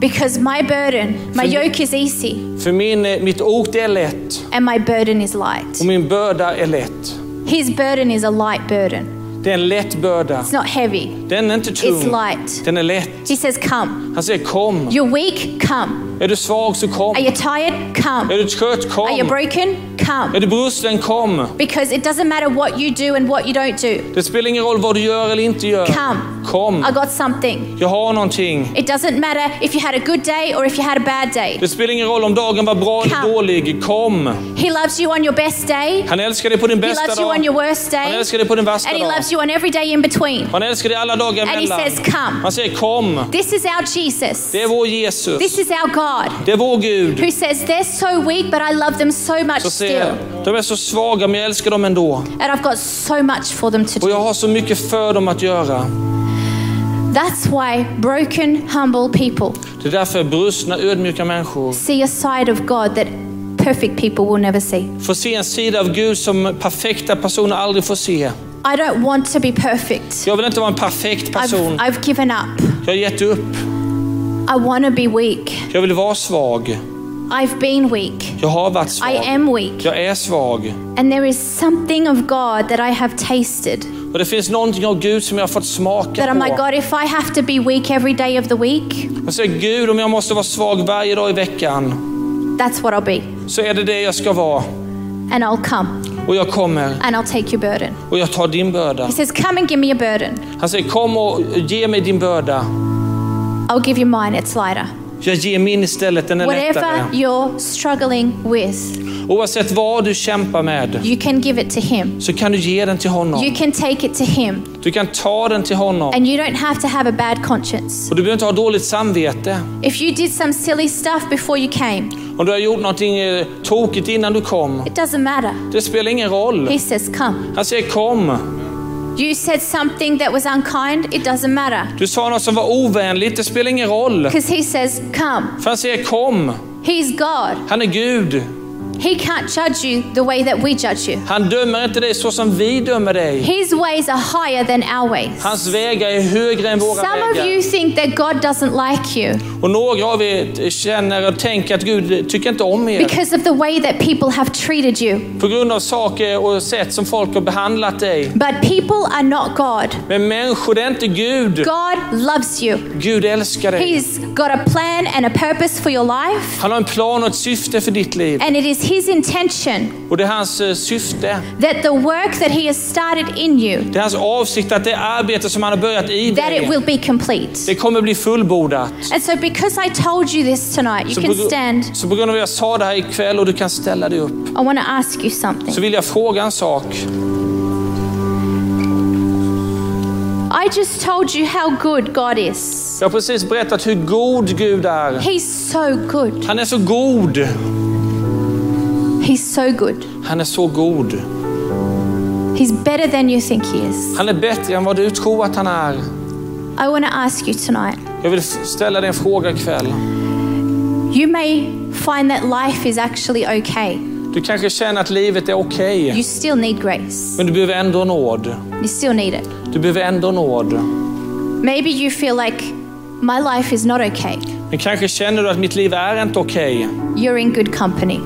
Speaker 2: because my burden, my yoke is easy,
Speaker 3: För min, mitt ok det är lätt
Speaker 2: and my burden is light.
Speaker 3: och min börda är lätt.
Speaker 2: His burden is a light burden.
Speaker 3: Det är en lätt börda.
Speaker 2: It's not heavy,
Speaker 3: Den är inte
Speaker 2: it's
Speaker 3: tung.
Speaker 2: light.
Speaker 3: Den är lätt.
Speaker 2: He says, Come.
Speaker 3: Han säger kom.
Speaker 2: You're weak? Come.
Speaker 3: Är du svag så kom.
Speaker 2: Are you tired?
Speaker 3: Är
Speaker 2: Come.
Speaker 3: du trött
Speaker 2: Are you
Speaker 3: kom.
Speaker 2: broken? Come.
Speaker 3: Är du brusten kom.
Speaker 2: Because it doesn't matter what you do and what you don't do.
Speaker 3: Det spelar ingen roll vad du gör eller inte gör.
Speaker 2: Come.
Speaker 3: Kom.
Speaker 2: I got something.
Speaker 3: Jag har någonting.
Speaker 2: It doesn't matter if you had a good day or if you had a bad day.
Speaker 3: Det spelar ingen roll om dagen var bra eller
Speaker 2: Come.
Speaker 3: dålig. Kom.
Speaker 2: He loves you on your best day.
Speaker 3: Han älskar dig på din
Speaker 2: He
Speaker 3: bästa
Speaker 2: loves you on your
Speaker 3: dag.
Speaker 2: worst
Speaker 3: Han
Speaker 2: day.
Speaker 3: älskar dig på din värsta
Speaker 2: And he
Speaker 3: dag.
Speaker 2: loves you on every day in between.
Speaker 3: Han älskar dig alla dagar
Speaker 2: And he
Speaker 3: emellan.
Speaker 2: says, "Come."
Speaker 3: Han säger kom.
Speaker 2: This is our Jesus.
Speaker 3: Det är vår Jesus.
Speaker 2: This is our God
Speaker 3: Det är vår Gud.
Speaker 2: who says, They're so weak, but I love them so much
Speaker 3: Så
Speaker 2: still.
Speaker 3: säger, de är så svaga men jag älskar dem ändå.
Speaker 2: And I've got so much for them to
Speaker 3: Och jag
Speaker 2: do.
Speaker 3: har så mycket för dem att göra.
Speaker 2: That's why broken, humble people
Speaker 3: Det är därför brustna, ödmjuka människor
Speaker 2: see a side of God that perfect people will never see.
Speaker 3: får se en sida av Gud som perfekta personer aldrig får se.
Speaker 2: I don't want to be perfect.
Speaker 3: Jag vill inte vara en perfekt
Speaker 2: I've,
Speaker 3: person.
Speaker 2: I've given up.
Speaker 3: Jag har gett upp.
Speaker 2: I want to be weak.
Speaker 3: Jag vill vara svag.
Speaker 2: I've been weak.
Speaker 3: Jag har varit
Speaker 2: I
Speaker 3: svag.
Speaker 2: am weak.
Speaker 3: Jag är svag.
Speaker 2: And there is something of God that I have tasted
Speaker 3: Och det finns någonting av Gud som jag har fått
Speaker 2: that
Speaker 3: smaka
Speaker 2: I'm like,
Speaker 3: på.
Speaker 2: God, if I have to be weak every day of the week,
Speaker 3: Jag säger Gud, om jag måste vara svag varje dag i veckan
Speaker 2: that's what I'll be.
Speaker 3: så är det det jag ska vara.
Speaker 2: And I'll come
Speaker 3: Och jag kommer
Speaker 2: and I'll take your burden.
Speaker 3: och jag tar din börda.
Speaker 2: He says, Come and give me your burden.
Speaker 3: Han säger kom och ge mig din börda.
Speaker 2: I'll give you mine, it's lighter.
Speaker 3: Jag ger min istället, den är lättare.
Speaker 2: Whatever you're struggling with,
Speaker 3: Oavsett vad du kämpar med
Speaker 2: you can give it to Him.
Speaker 3: så kan du ge den till
Speaker 2: You
Speaker 3: honom.
Speaker 2: can take it to Him.
Speaker 3: Du kan ta den till honom.
Speaker 2: And you don't have to have a bad conscience.
Speaker 3: Och du behöver inte ha dåligt samvete.
Speaker 2: If you did some silly stuff before you came,
Speaker 3: Om du har gjort någonting eh, tokigt innan du kom.
Speaker 2: it doesn't matter.
Speaker 3: Det spelar ingen roll.
Speaker 2: He says, Come.
Speaker 3: Han säger kom.
Speaker 2: You said something that was unkind, it doesn't matter.
Speaker 3: Du sa något som var ovänligt, det spelar ingen roll.
Speaker 2: Because He says, Come.
Speaker 3: För han säger kom.
Speaker 2: He's God.
Speaker 3: Han är Gud.
Speaker 2: He can't judge you the way that we judge you.
Speaker 3: Han dömer inte dig så som vi dömer dig.
Speaker 2: His ways are higher than our ways.
Speaker 3: Hans vägar är högre än våra
Speaker 2: Some of you
Speaker 3: vägar.
Speaker 2: think that God doesn't like you
Speaker 3: Och några av er känner och tänker att Gud tycker inte om er.
Speaker 2: because of the way that people have treated you.
Speaker 3: På grund av saker och sätt som folk har behandlat dig.
Speaker 2: But people are not God.
Speaker 3: Men människor, det är inte Gud.
Speaker 2: God loves you.
Speaker 3: Gud älskar dig.
Speaker 2: He's got a plan and a purpose for your life,
Speaker 3: Han har en plan och ett syfte för ditt liv.
Speaker 2: and it is His intention
Speaker 3: Och det är hans eh, syfte.
Speaker 2: that the work that He has started in you
Speaker 3: Det är hans avsikt att det arbete som han har börjat i
Speaker 2: that it
Speaker 3: dig,
Speaker 2: will be complete.
Speaker 3: det kommer bli fullbordat.
Speaker 2: And so because I told you this tonight, you
Speaker 3: Så
Speaker 2: can
Speaker 3: på, gru-
Speaker 2: stand.
Speaker 3: så på grund av att jag sa det här ikväll och du kan ställa dig upp,
Speaker 2: I want to ask you something.
Speaker 3: så vill jag fråga en sak.
Speaker 2: I just told you how good God is.
Speaker 3: Jag har precis berättat hur god Gud är.
Speaker 2: He's so good.
Speaker 3: Han är så god.
Speaker 2: He's so good.
Speaker 3: Han är så god.
Speaker 2: He's better than you think He is.
Speaker 3: Han är bättre än vad du tror att han är.
Speaker 2: I want to ask you tonight.
Speaker 3: Jag vill f- ställa dig en fråga ikväll.
Speaker 2: You may find that life is actually okay.
Speaker 3: Du kanske känner att livet är okej,
Speaker 2: You still need grace.
Speaker 3: men du behöver ändå nåd.
Speaker 2: You still need it.
Speaker 3: Du behöver ändå nåd.
Speaker 2: Maybe you feel like my life is not okay.
Speaker 3: Men kanske känner du att mitt liv är inte okej.
Speaker 2: You're in good company.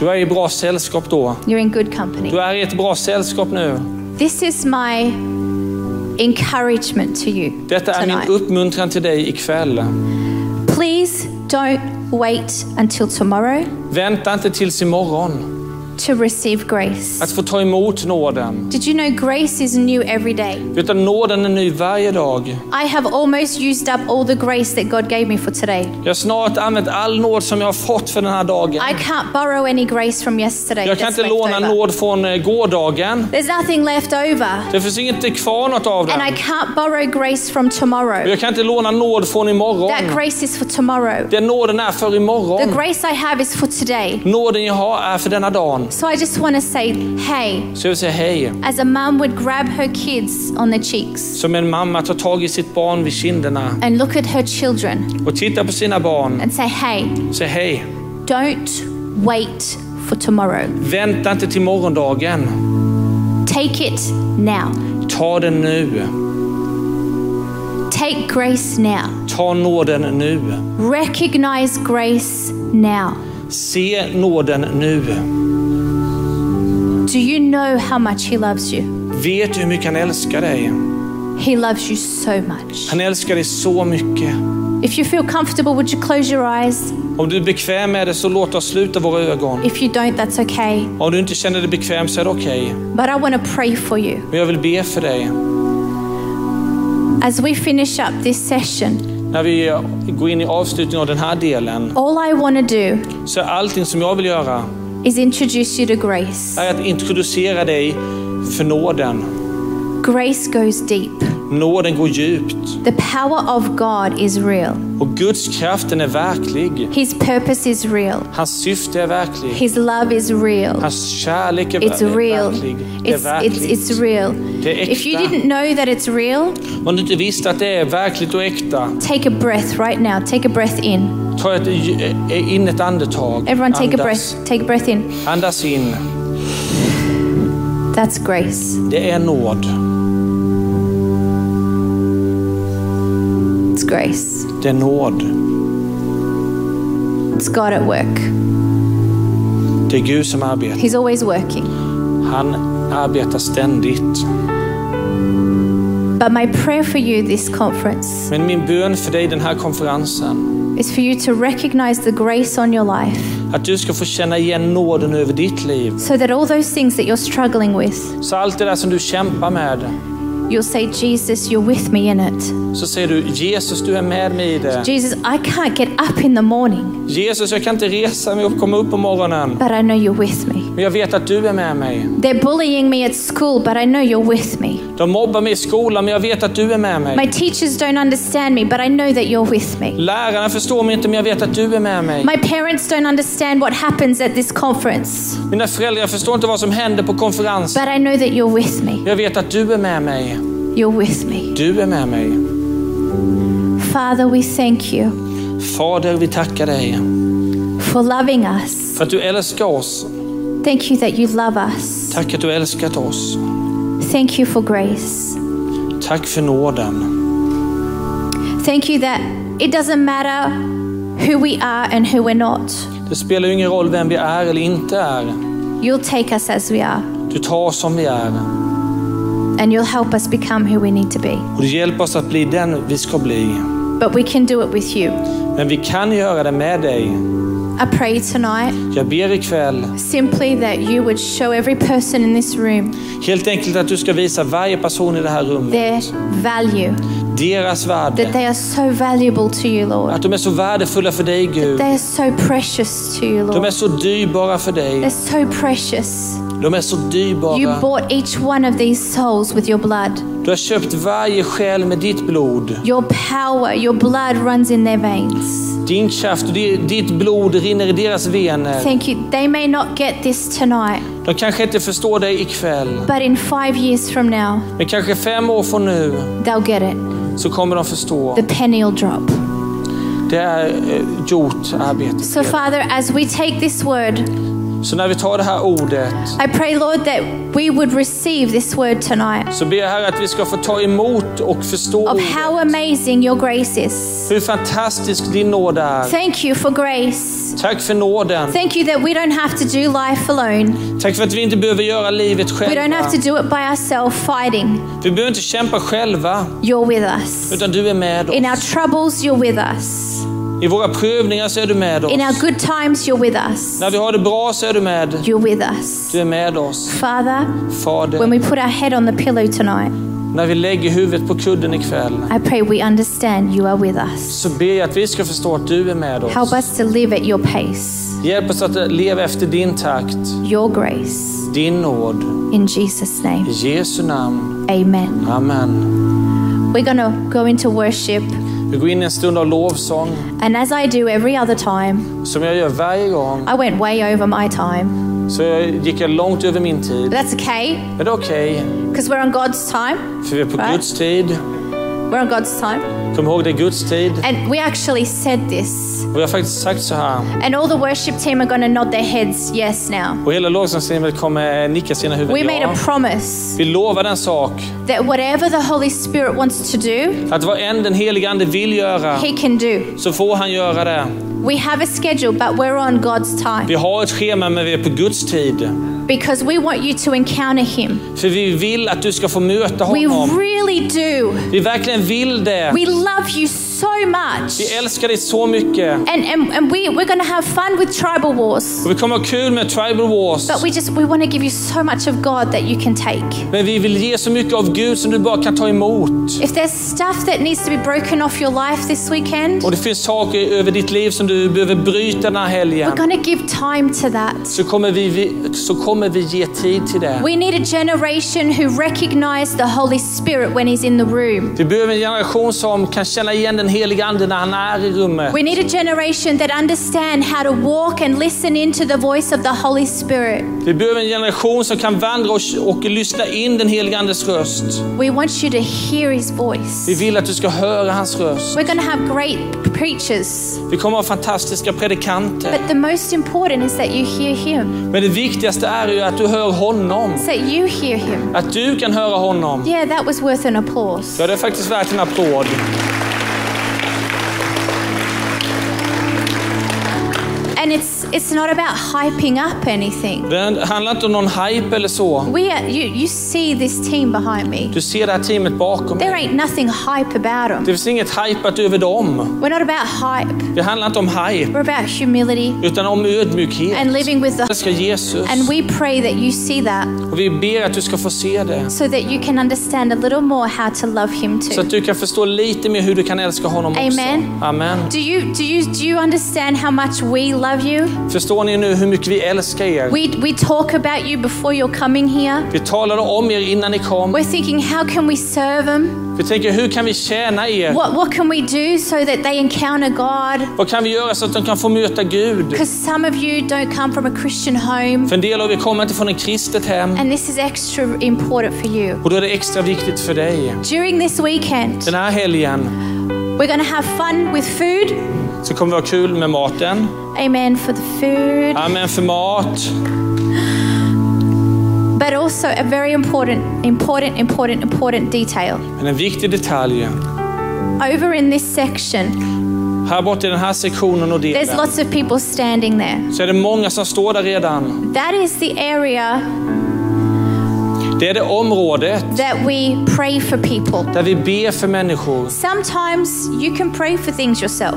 Speaker 3: Du är i bra sällskap då.
Speaker 2: You're in good company.
Speaker 3: Du är i ett bra sällskap nu.
Speaker 2: This is my encouragement to you
Speaker 3: Detta är er min
Speaker 2: tonight.
Speaker 3: uppmuntran till dig ikväll.
Speaker 2: Please don't wait until tomorrow
Speaker 3: Vänta inte tills imorgon
Speaker 2: to receive grace.
Speaker 3: att få ta emot nåden.
Speaker 2: Did you know grace is new every day?
Speaker 3: Utan nåden är ny varje dag.
Speaker 2: I have almost used up all the grace that God gave me for today.
Speaker 3: Jag har snart använt all nåd som jag har fått för den här dagen.
Speaker 2: I can't borrow any grace from yesterday.
Speaker 3: Jag kan
Speaker 2: that's
Speaker 3: inte låna
Speaker 2: left over.
Speaker 3: nåd från eh, gårdagen.
Speaker 2: There's nothing left over.
Speaker 3: Det finns inte kvar något av
Speaker 2: And I
Speaker 3: den.
Speaker 2: can't borrow grace from
Speaker 3: Och
Speaker 2: tomorrow.
Speaker 3: Jag kan inte låna nåd från
Speaker 2: That
Speaker 3: imorgon.
Speaker 2: grace is for tomorrow.
Speaker 3: Den nåden är för
Speaker 2: The
Speaker 3: imorgon.
Speaker 2: grace I have is for today.
Speaker 3: Nåden jag har är för denna dagen.
Speaker 2: So I just want to say, hey,
Speaker 3: Så jag vill säga hej.
Speaker 2: as a mum would grab her kids on the cheeks
Speaker 3: Som en mamma tar tag i sitt barn vid kinderna
Speaker 2: and look at her children
Speaker 3: och tittar på sina barn.
Speaker 2: and say, hey,
Speaker 3: Säg hej.
Speaker 2: don't wait for tomorrow.
Speaker 3: Vänta inte till morgondagen.
Speaker 2: Take it now.
Speaker 3: Ta den nu.
Speaker 2: Take grace now.
Speaker 3: Ta nåden nu.
Speaker 2: Recognize grace now.
Speaker 3: Se nåden nu.
Speaker 2: Do you know how much He loves you?
Speaker 3: Vet du hur mycket han älskar dig?
Speaker 2: He loves you so much.
Speaker 3: Han älskar dig så mycket.
Speaker 2: If you feel comfortable, would you close your eyes?
Speaker 3: Om du är bekväm med det så låt oss sluta våra ögon.
Speaker 2: If you don't, that's okay.
Speaker 3: Om du inte känner dig bekväm så är det okej.
Speaker 2: But I want to pray for you.
Speaker 3: Men jag vill be för dig.
Speaker 2: As we finish up this session,
Speaker 3: När vi går in i avslutningen av den här delen
Speaker 2: all I want to do
Speaker 3: så är allting som jag vill göra
Speaker 2: is introduce you to grace.
Speaker 3: är att introducera dig för nåden.
Speaker 2: Grace goes deep.
Speaker 3: Nåden går djupt
Speaker 2: The power of God is real.
Speaker 3: och Guds kraften är verklig.
Speaker 2: His purpose is real.
Speaker 3: Hans syfte är verklig.
Speaker 2: His love is real.
Speaker 3: Hans kärlek är,
Speaker 2: It's
Speaker 3: ver- är
Speaker 2: real.
Speaker 3: verklig. Det är
Speaker 2: It's,
Speaker 3: verkligt.
Speaker 2: it's, it's real.
Speaker 3: Det är
Speaker 2: If you
Speaker 3: äkta.
Speaker 2: didn't know that it's real,
Speaker 3: Om du inte visste att det är verkligt och äkta,
Speaker 2: take a breath right now. Take a breath in.
Speaker 3: ta ett, eh, in ett andetag.
Speaker 2: Everyone, take a
Speaker 3: andas,
Speaker 2: breath. Take a breath in.
Speaker 3: andas in.
Speaker 2: That's grace.
Speaker 3: Det är nåd.
Speaker 2: It's grace.
Speaker 3: Det är nåd.
Speaker 2: It's God at work.
Speaker 3: Det är Gud som arbetar.
Speaker 2: He's always working.
Speaker 3: Han arbetar ständigt.
Speaker 2: But my prayer for you this conference
Speaker 3: Men min bön för dig den här konferensen,
Speaker 2: is for you to recognize the grace on your life
Speaker 3: att du ska få känna igen nåden över ditt liv.
Speaker 2: so that all those things that you're struggling with,
Speaker 3: Så allt det där som du kämpar med,
Speaker 2: you'll say, Jesus, you're with me in it.
Speaker 3: så säger du Jesus, du är med mig i det.
Speaker 2: Jesus, I can't get up in the morning,
Speaker 3: Jesus, jag kan inte resa mig och komma upp på morgonen,
Speaker 2: but I know you're with me.
Speaker 3: men jag vet att du är med mig.
Speaker 2: They're bullying me at school, but I know you're with me.
Speaker 3: De mobbar mig i skolan, men jag vet att du är med mig.
Speaker 2: My teachers don't understand me, but I know that you're with me.
Speaker 3: Lärarna förstår mig inte, men jag vet att du är med mig.
Speaker 2: My parents don't understand what happens at this conference,
Speaker 3: Mina föräldrar förstår inte vad som händer på konferensen.
Speaker 2: but I know that you're with me.
Speaker 3: Jag vet att du är med mig.
Speaker 2: You're with me.
Speaker 3: Du är med mig.
Speaker 2: Father, we thank you
Speaker 3: Fader, vi tackar dig
Speaker 2: for loving us.
Speaker 3: för att du älskar oss
Speaker 2: Thank you that you love us.
Speaker 3: Tack att du älskat oss.
Speaker 2: Thank you for grace.
Speaker 3: Tack för nåden.
Speaker 2: Thank you that it doesn't matter who we are and who we're not.
Speaker 3: Det spelar ju ingen roll vem vi är eller inte är.
Speaker 2: You'll take us as we are
Speaker 3: Du tar oss som vi är
Speaker 2: and you'll help us become who we need to be.
Speaker 3: och du hjälper oss att bli den vi ska bli.
Speaker 2: But we can do it with you.
Speaker 3: Men vi kan göra det med dig.
Speaker 2: I pray tonight
Speaker 3: Jag ber ikväll
Speaker 2: simply that you would show every person in this room
Speaker 3: helt enkelt att du ska visa varje person i det här rummet
Speaker 2: their value,
Speaker 3: deras
Speaker 2: that
Speaker 3: värde.
Speaker 2: they are so valuable to you, Lord.
Speaker 3: Att de är så värdefulla för dig Gud.
Speaker 2: They are so precious to you,
Speaker 3: De är
Speaker 2: Lord.
Speaker 3: så dyrbara för
Speaker 2: They're
Speaker 3: dig.
Speaker 2: so precious.
Speaker 3: De är så
Speaker 2: You
Speaker 3: dyrbara.
Speaker 2: bought each one of these souls with your blood.
Speaker 3: Du har köpt varje själ med ditt blod.
Speaker 2: Your power, your blood runs in their veins.
Speaker 3: Din kraft och di- ditt blod rinner i deras vener.
Speaker 2: Thank you. They may not get this tonight,
Speaker 3: De kanske inte förstår dig ikväll.
Speaker 2: but in five years from now,
Speaker 3: Men kanske fem år från nu
Speaker 2: they'll get it.
Speaker 3: så kommer de förstå.
Speaker 2: The penny will drop.
Speaker 3: Det är eh, gjort arbete.
Speaker 2: So, Father, as we take this word,
Speaker 3: Så när vi tar det här ordet
Speaker 2: I pray, Lord, that we would receive this word tonight
Speaker 3: så ber jag Herre att vi ska få ta emot och förstå
Speaker 2: of
Speaker 3: ordet.
Speaker 2: how amazing your grace is.
Speaker 3: hur fantastisk din nåd är.
Speaker 2: Thank you for grace.
Speaker 3: Tack för nåden.
Speaker 2: Thank you that we don't have to do life alone.
Speaker 3: Tack för att vi inte behöver göra livet
Speaker 2: We don't
Speaker 3: själva.
Speaker 2: have to do it by ourselves fighting.
Speaker 3: Vi behöver inte kämpa själva,
Speaker 2: You're with us.
Speaker 3: utan du är med
Speaker 2: In our
Speaker 3: oss.
Speaker 2: troubles, you're with us.
Speaker 3: I våra prövningar så är du med oss.
Speaker 2: In our good times, you're with us.
Speaker 3: När vi har det bra så är du med.
Speaker 2: You're with us.
Speaker 3: Du är med oss.
Speaker 2: Father, when
Speaker 3: Fader,
Speaker 2: we put our head on the pillow tonight,
Speaker 3: när vi lägger huvudet på kudden ikväll
Speaker 2: I pray we understand you are with us.
Speaker 3: så ber jag att vi ska förstå att du är med
Speaker 2: Help
Speaker 3: oss.
Speaker 2: us to live at your pace,
Speaker 3: Hjälp oss att leva efter din takt,
Speaker 2: your grace.
Speaker 3: din nåd.
Speaker 2: In Jesus'
Speaker 3: I
Speaker 2: name,
Speaker 3: Jesu namn.
Speaker 2: amen.
Speaker 3: Amen.
Speaker 2: We're going to go into worship,
Speaker 3: Vi går in i en stund av lovsång
Speaker 2: and as I do every other time,
Speaker 3: som jag gör varje gång.
Speaker 2: I went way over my time.
Speaker 3: Så jag gick jag långt över min tid.
Speaker 2: But that's okay,
Speaker 3: Men det är okej,
Speaker 2: because we're on God's time.
Speaker 3: för vi är på
Speaker 2: Va?
Speaker 3: Guds tid.
Speaker 2: We're on God's time.
Speaker 3: Kom ihåg, det är Guds tid.
Speaker 2: And we actually said this,
Speaker 3: Och jag har faktiskt sagt så här.
Speaker 2: and all the worship team are going to nod their heads yes now.
Speaker 3: Och hela lovsångsteamet kommer nicka sina
Speaker 2: We
Speaker 3: huvuden.
Speaker 2: made a
Speaker 3: Ja.
Speaker 2: promise
Speaker 3: Vi lovade en sak.
Speaker 2: that whatever the Holy Spirit wants to do,
Speaker 3: Att vad än den helige Ande vill göra
Speaker 2: He can do.
Speaker 3: så får han göra det.
Speaker 2: We have a schedule, but we're on God's
Speaker 3: Vi
Speaker 2: time
Speaker 3: har ett schema men vi är på Guds tid.
Speaker 2: because we want you to encounter Him.
Speaker 3: För vi vill att du ska få möta
Speaker 2: We
Speaker 3: honom.
Speaker 2: really do.
Speaker 3: Vi verkligen vill det.
Speaker 2: We love you so much.
Speaker 3: Vi älskar dig så mycket.
Speaker 2: And, and, and we, we're going to have fun with tribal wars.
Speaker 3: Och vi kommer ha kul med Tribal Wars.
Speaker 2: But we just, we want to give you so much of God that you can take.
Speaker 3: Men vi vill ge så mycket av Gud som du bara kan ta emot.
Speaker 2: If there's stuff that needs to be broken off your life this weekend,
Speaker 3: Och det finns saker över ditt liv som du behöver bryta den här helgen.
Speaker 2: we're going to give time to that.
Speaker 3: så kommer, vi- vi, så kommer vi ge tid till det.
Speaker 2: We need a generation who recognize the Holy Spirit when He's in the room.
Speaker 3: Vi behöver en generation som kan känna igen den heliga Ande när han är i rummet.
Speaker 2: We need a generation that understand how to walk and listen into the voice of the Holy Spirit.
Speaker 3: Vi behöver en generation som kan vandra och, och lyssna in den heliga Andes röst.
Speaker 2: We want you to hear His
Speaker 3: Vi
Speaker 2: voice.
Speaker 3: vill att du ska höra hans röst.
Speaker 2: We're going to have great preachers,
Speaker 3: Vi kommer att ha fantastiska predikanter.
Speaker 2: but the most important is that you hear Him,
Speaker 3: Men det viktigaste är ju att du hör honom.
Speaker 2: It's that you hear Him.
Speaker 3: Att du kan höra honom.
Speaker 2: Yeah, that was worth an applause.
Speaker 3: Ja, det är faktiskt värt en applåd.
Speaker 2: And it's it's not about hyping up anything.
Speaker 3: Det handlar inte om någon hype eller så.
Speaker 2: We are, you you see this team behind me.
Speaker 3: Du ser det här teamet bakom
Speaker 2: There
Speaker 3: dig.
Speaker 2: ain't nothing hype about
Speaker 3: Det
Speaker 2: them.
Speaker 3: finns inget hypat över dem.
Speaker 2: We're not about hype.
Speaker 3: Det handlar inte om hype,
Speaker 2: We're about humility
Speaker 3: utan om ödmjukhet.
Speaker 2: and living with the
Speaker 3: älskar Jesus.
Speaker 2: and we pray that you see that
Speaker 3: Och vi ber att du ska få se det.
Speaker 2: so that you can understand a little more how to love him
Speaker 3: Så
Speaker 2: too.
Speaker 3: att du kan förstå lite mer hur du kan älska honom också.
Speaker 2: Amen.
Speaker 3: Amen.
Speaker 2: Do you do you do you understand how much we love you?
Speaker 3: Förstår ni nu hur mycket vi älskar er?
Speaker 2: We we talk about you before you're coming here.
Speaker 3: Vi talade om er innan ni kom.
Speaker 2: We're thinking how can we serve them?
Speaker 3: Vi tänker, hur kan vi tjäna er?
Speaker 2: What what can we do so that they encounter God?
Speaker 3: Vad kan vi göra så att de kan få möta Gud?
Speaker 2: Because some of you don't come from a Christian home,
Speaker 3: För en del av er kommer inte från ett kristet hem.
Speaker 2: and this is extra important for you.
Speaker 3: Och då är det extra viktigt för dig.
Speaker 2: During this weekend,
Speaker 3: Den här helgen
Speaker 2: we're going to have fun with food.
Speaker 3: så kommer vi ha kul med maten. Ah.
Speaker 2: Amen for the food.
Speaker 3: Amen för mat.
Speaker 2: But also a very important, important, important, important detail.
Speaker 3: Men en viktig detalj,
Speaker 2: Over in this section,
Speaker 3: här borta i den här sektionen och
Speaker 2: there's
Speaker 3: delen,
Speaker 2: lots of people standing there.
Speaker 3: så är det många som står där redan.
Speaker 2: That is the area
Speaker 3: Det är det området
Speaker 2: that we pray for people.
Speaker 3: där vi ber för människor.
Speaker 2: Sometimes you can pray for things yourself,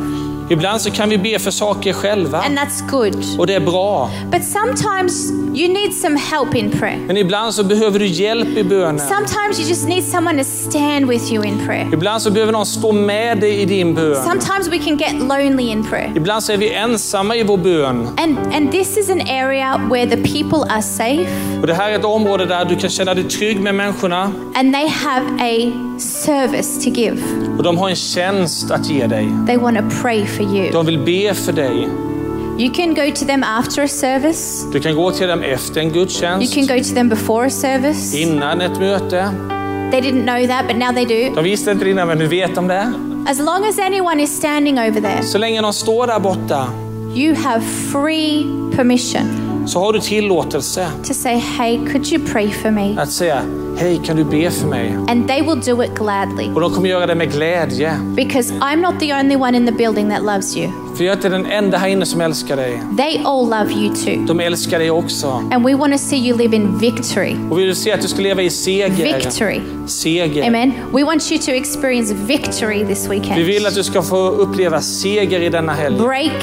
Speaker 3: Ibland så kan vi be för saker själva
Speaker 2: and that's good.
Speaker 3: och det är bra.
Speaker 2: But sometimes you need some help in prayer.
Speaker 3: Men ibland så behöver du hjälp i bönen.
Speaker 2: Sometimes you just need someone to stand with you in prayer.
Speaker 3: Ibland så behöver någon stå med dig i din bön.
Speaker 2: Sometimes we can get lonely in prayer.
Speaker 3: Ibland så är vi ensamma i vår bön.
Speaker 2: And, and this is an area where the people are safe
Speaker 3: Och det här är ett område där du kan känna dig trygg med människorna
Speaker 2: and they have a service to give.
Speaker 3: och de har en tjänst att ge dig.
Speaker 2: They want to pray for you.
Speaker 3: De vill be för dig.
Speaker 2: You can go to them after a service,
Speaker 3: Du kan gå till dem efter en
Speaker 2: you
Speaker 3: gudstjänst,
Speaker 2: can go to them before a service.
Speaker 3: innan ett möte.
Speaker 2: They didn't know that, but now they do.
Speaker 3: De visste inte det innan, men nu vet de det.
Speaker 2: As long as anyone is standing over there,
Speaker 3: Så länge de står där borta
Speaker 2: you have free permission
Speaker 3: så har du tillåtelse
Speaker 2: to say, Hey, could you pray for me?
Speaker 3: att säga Hej, kan du be för mig?
Speaker 2: And they will do it gladly
Speaker 3: Och de kommer göra det med glädje.
Speaker 2: because I'm not the only one in the building that loves you.
Speaker 3: För jag är inte den enda här inne som älskar dig.
Speaker 2: They all love you too.
Speaker 3: De älskar dig också.
Speaker 2: And we want to see you live in victory.
Speaker 3: Och vi vill se att du ska leva i seger.
Speaker 2: Victory.
Speaker 3: Seger.
Speaker 2: Amen. We want you to experience victory this
Speaker 3: Vi vill att
Speaker 2: weekend.
Speaker 3: du ska få uppleva seger i denna helg.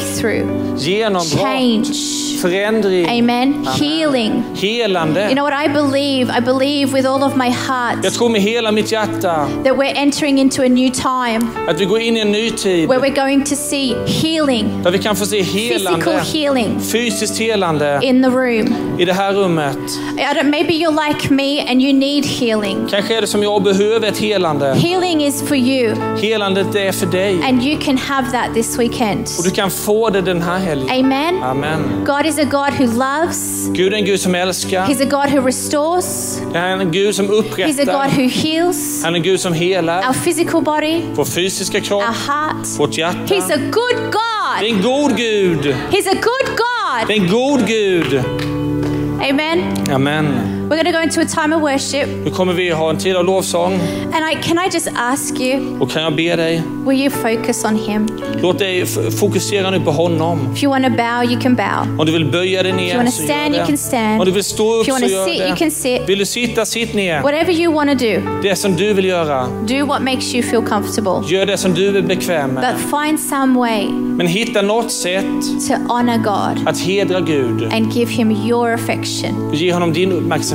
Speaker 2: Breakthrough,
Speaker 3: Genombrott,
Speaker 2: change.
Speaker 3: förändring,
Speaker 2: Amen. Healing. You
Speaker 3: helande.
Speaker 2: know what? I believe, I believe with all of my heart
Speaker 3: Jag tror med hela mitt hjärta
Speaker 2: that we're entering into a new time
Speaker 3: att vi går in i en ny tid
Speaker 2: where we're going to see healing,
Speaker 3: där vi kan få se
Speaker 2: physical
Speaker 3: helande,
Speaker 2: healing
Speaker 3: fysiskt helande
Speaker 2: in the room.
Speaker 3: i det här rummet.
Speaker 2: I don't- Maybe you're like me and you need healing.
Speaker 3: Kanske är det som jag behöver ett helande.
Speaker 2: Healing is for you,
Speaker 3: Helandet är för dig
Speaker 2: and you can have that this weekend.
Speaker 3: och du kan få det den här helgen.
Speaker 2: Amen.
Speaker 3: Amen.
Speaker 2: God is a God who loves.
Speaker 3: Gud är en Gud som älskar.
Speaker 2: He's a God who restores.
Speaker 3: Han är en Gud som
Speaker 2: He's a God
Speaker 3: upprättar.
Speaker 2: who heals
Speaker 3: Han är en Gud som helar.
Speaker 2: our physical body,
Speaker 3: Vår fysiska kropp,
Speaker 2: our heart.
Speaker 3: vårt hjärta.
Speaker 2: Ah. He's a good
Speaker 3: Det
Speaker 2: God.
Speaker 3: är en god Gud.
Speaker 2: He's a good
Speaker 3: Det
Speaker 2: God.
Speaker 3: är en god Gud.
Speaker 2: Amen.
Speaker 3: Amen.
Speaker 2: We're going to go into a time of worship.
Speaker 3: Nu kommer vi ha en tid av lovsång
Speaker 2: And I can I just ask you,
Speaker 3: och kan jag be dig,
Speaker 2: will you focus on him?
Speaker 3: låt dig f- fokusera nu på honom.
Speaker 2: If you want to bow, you can bow.
Speaker 3: Om du vill böja dig
Speaker 2: If you
Speaker 3: ner
Speaker 2: wanna
Speaker 3: så
Speaker 2: stand, you
Speaker 3: gör
Speaker 2: can
Speaker 3: det.
Speaker 2: stand.
Speaker 3: Om du vill stå upp
Speaker 2: If you
Speaker 3: så
Speaker 2: wanna
Speaker 3: gör
Speaker 2: sit, you can
Speaker 3: det.
Speaker 2: sit.
Speaker 3: Vill du sitta, sitt ner.
Speaker 2: Whatever you want to do,
Speaker 3: Det som du vill göra,
Speaker 2: do what makes you feel comfortable.
Speaker 3: gör det som du är bekväm med.
Speaker 2: But find some way
Speaker 3: Men hitta något sätt
Speaker 2: to honor God
Speaker 3: att hedra Gud
Speaker 2: and give him your affection.
Speaker 3: och ge honom din uppmärksamhet.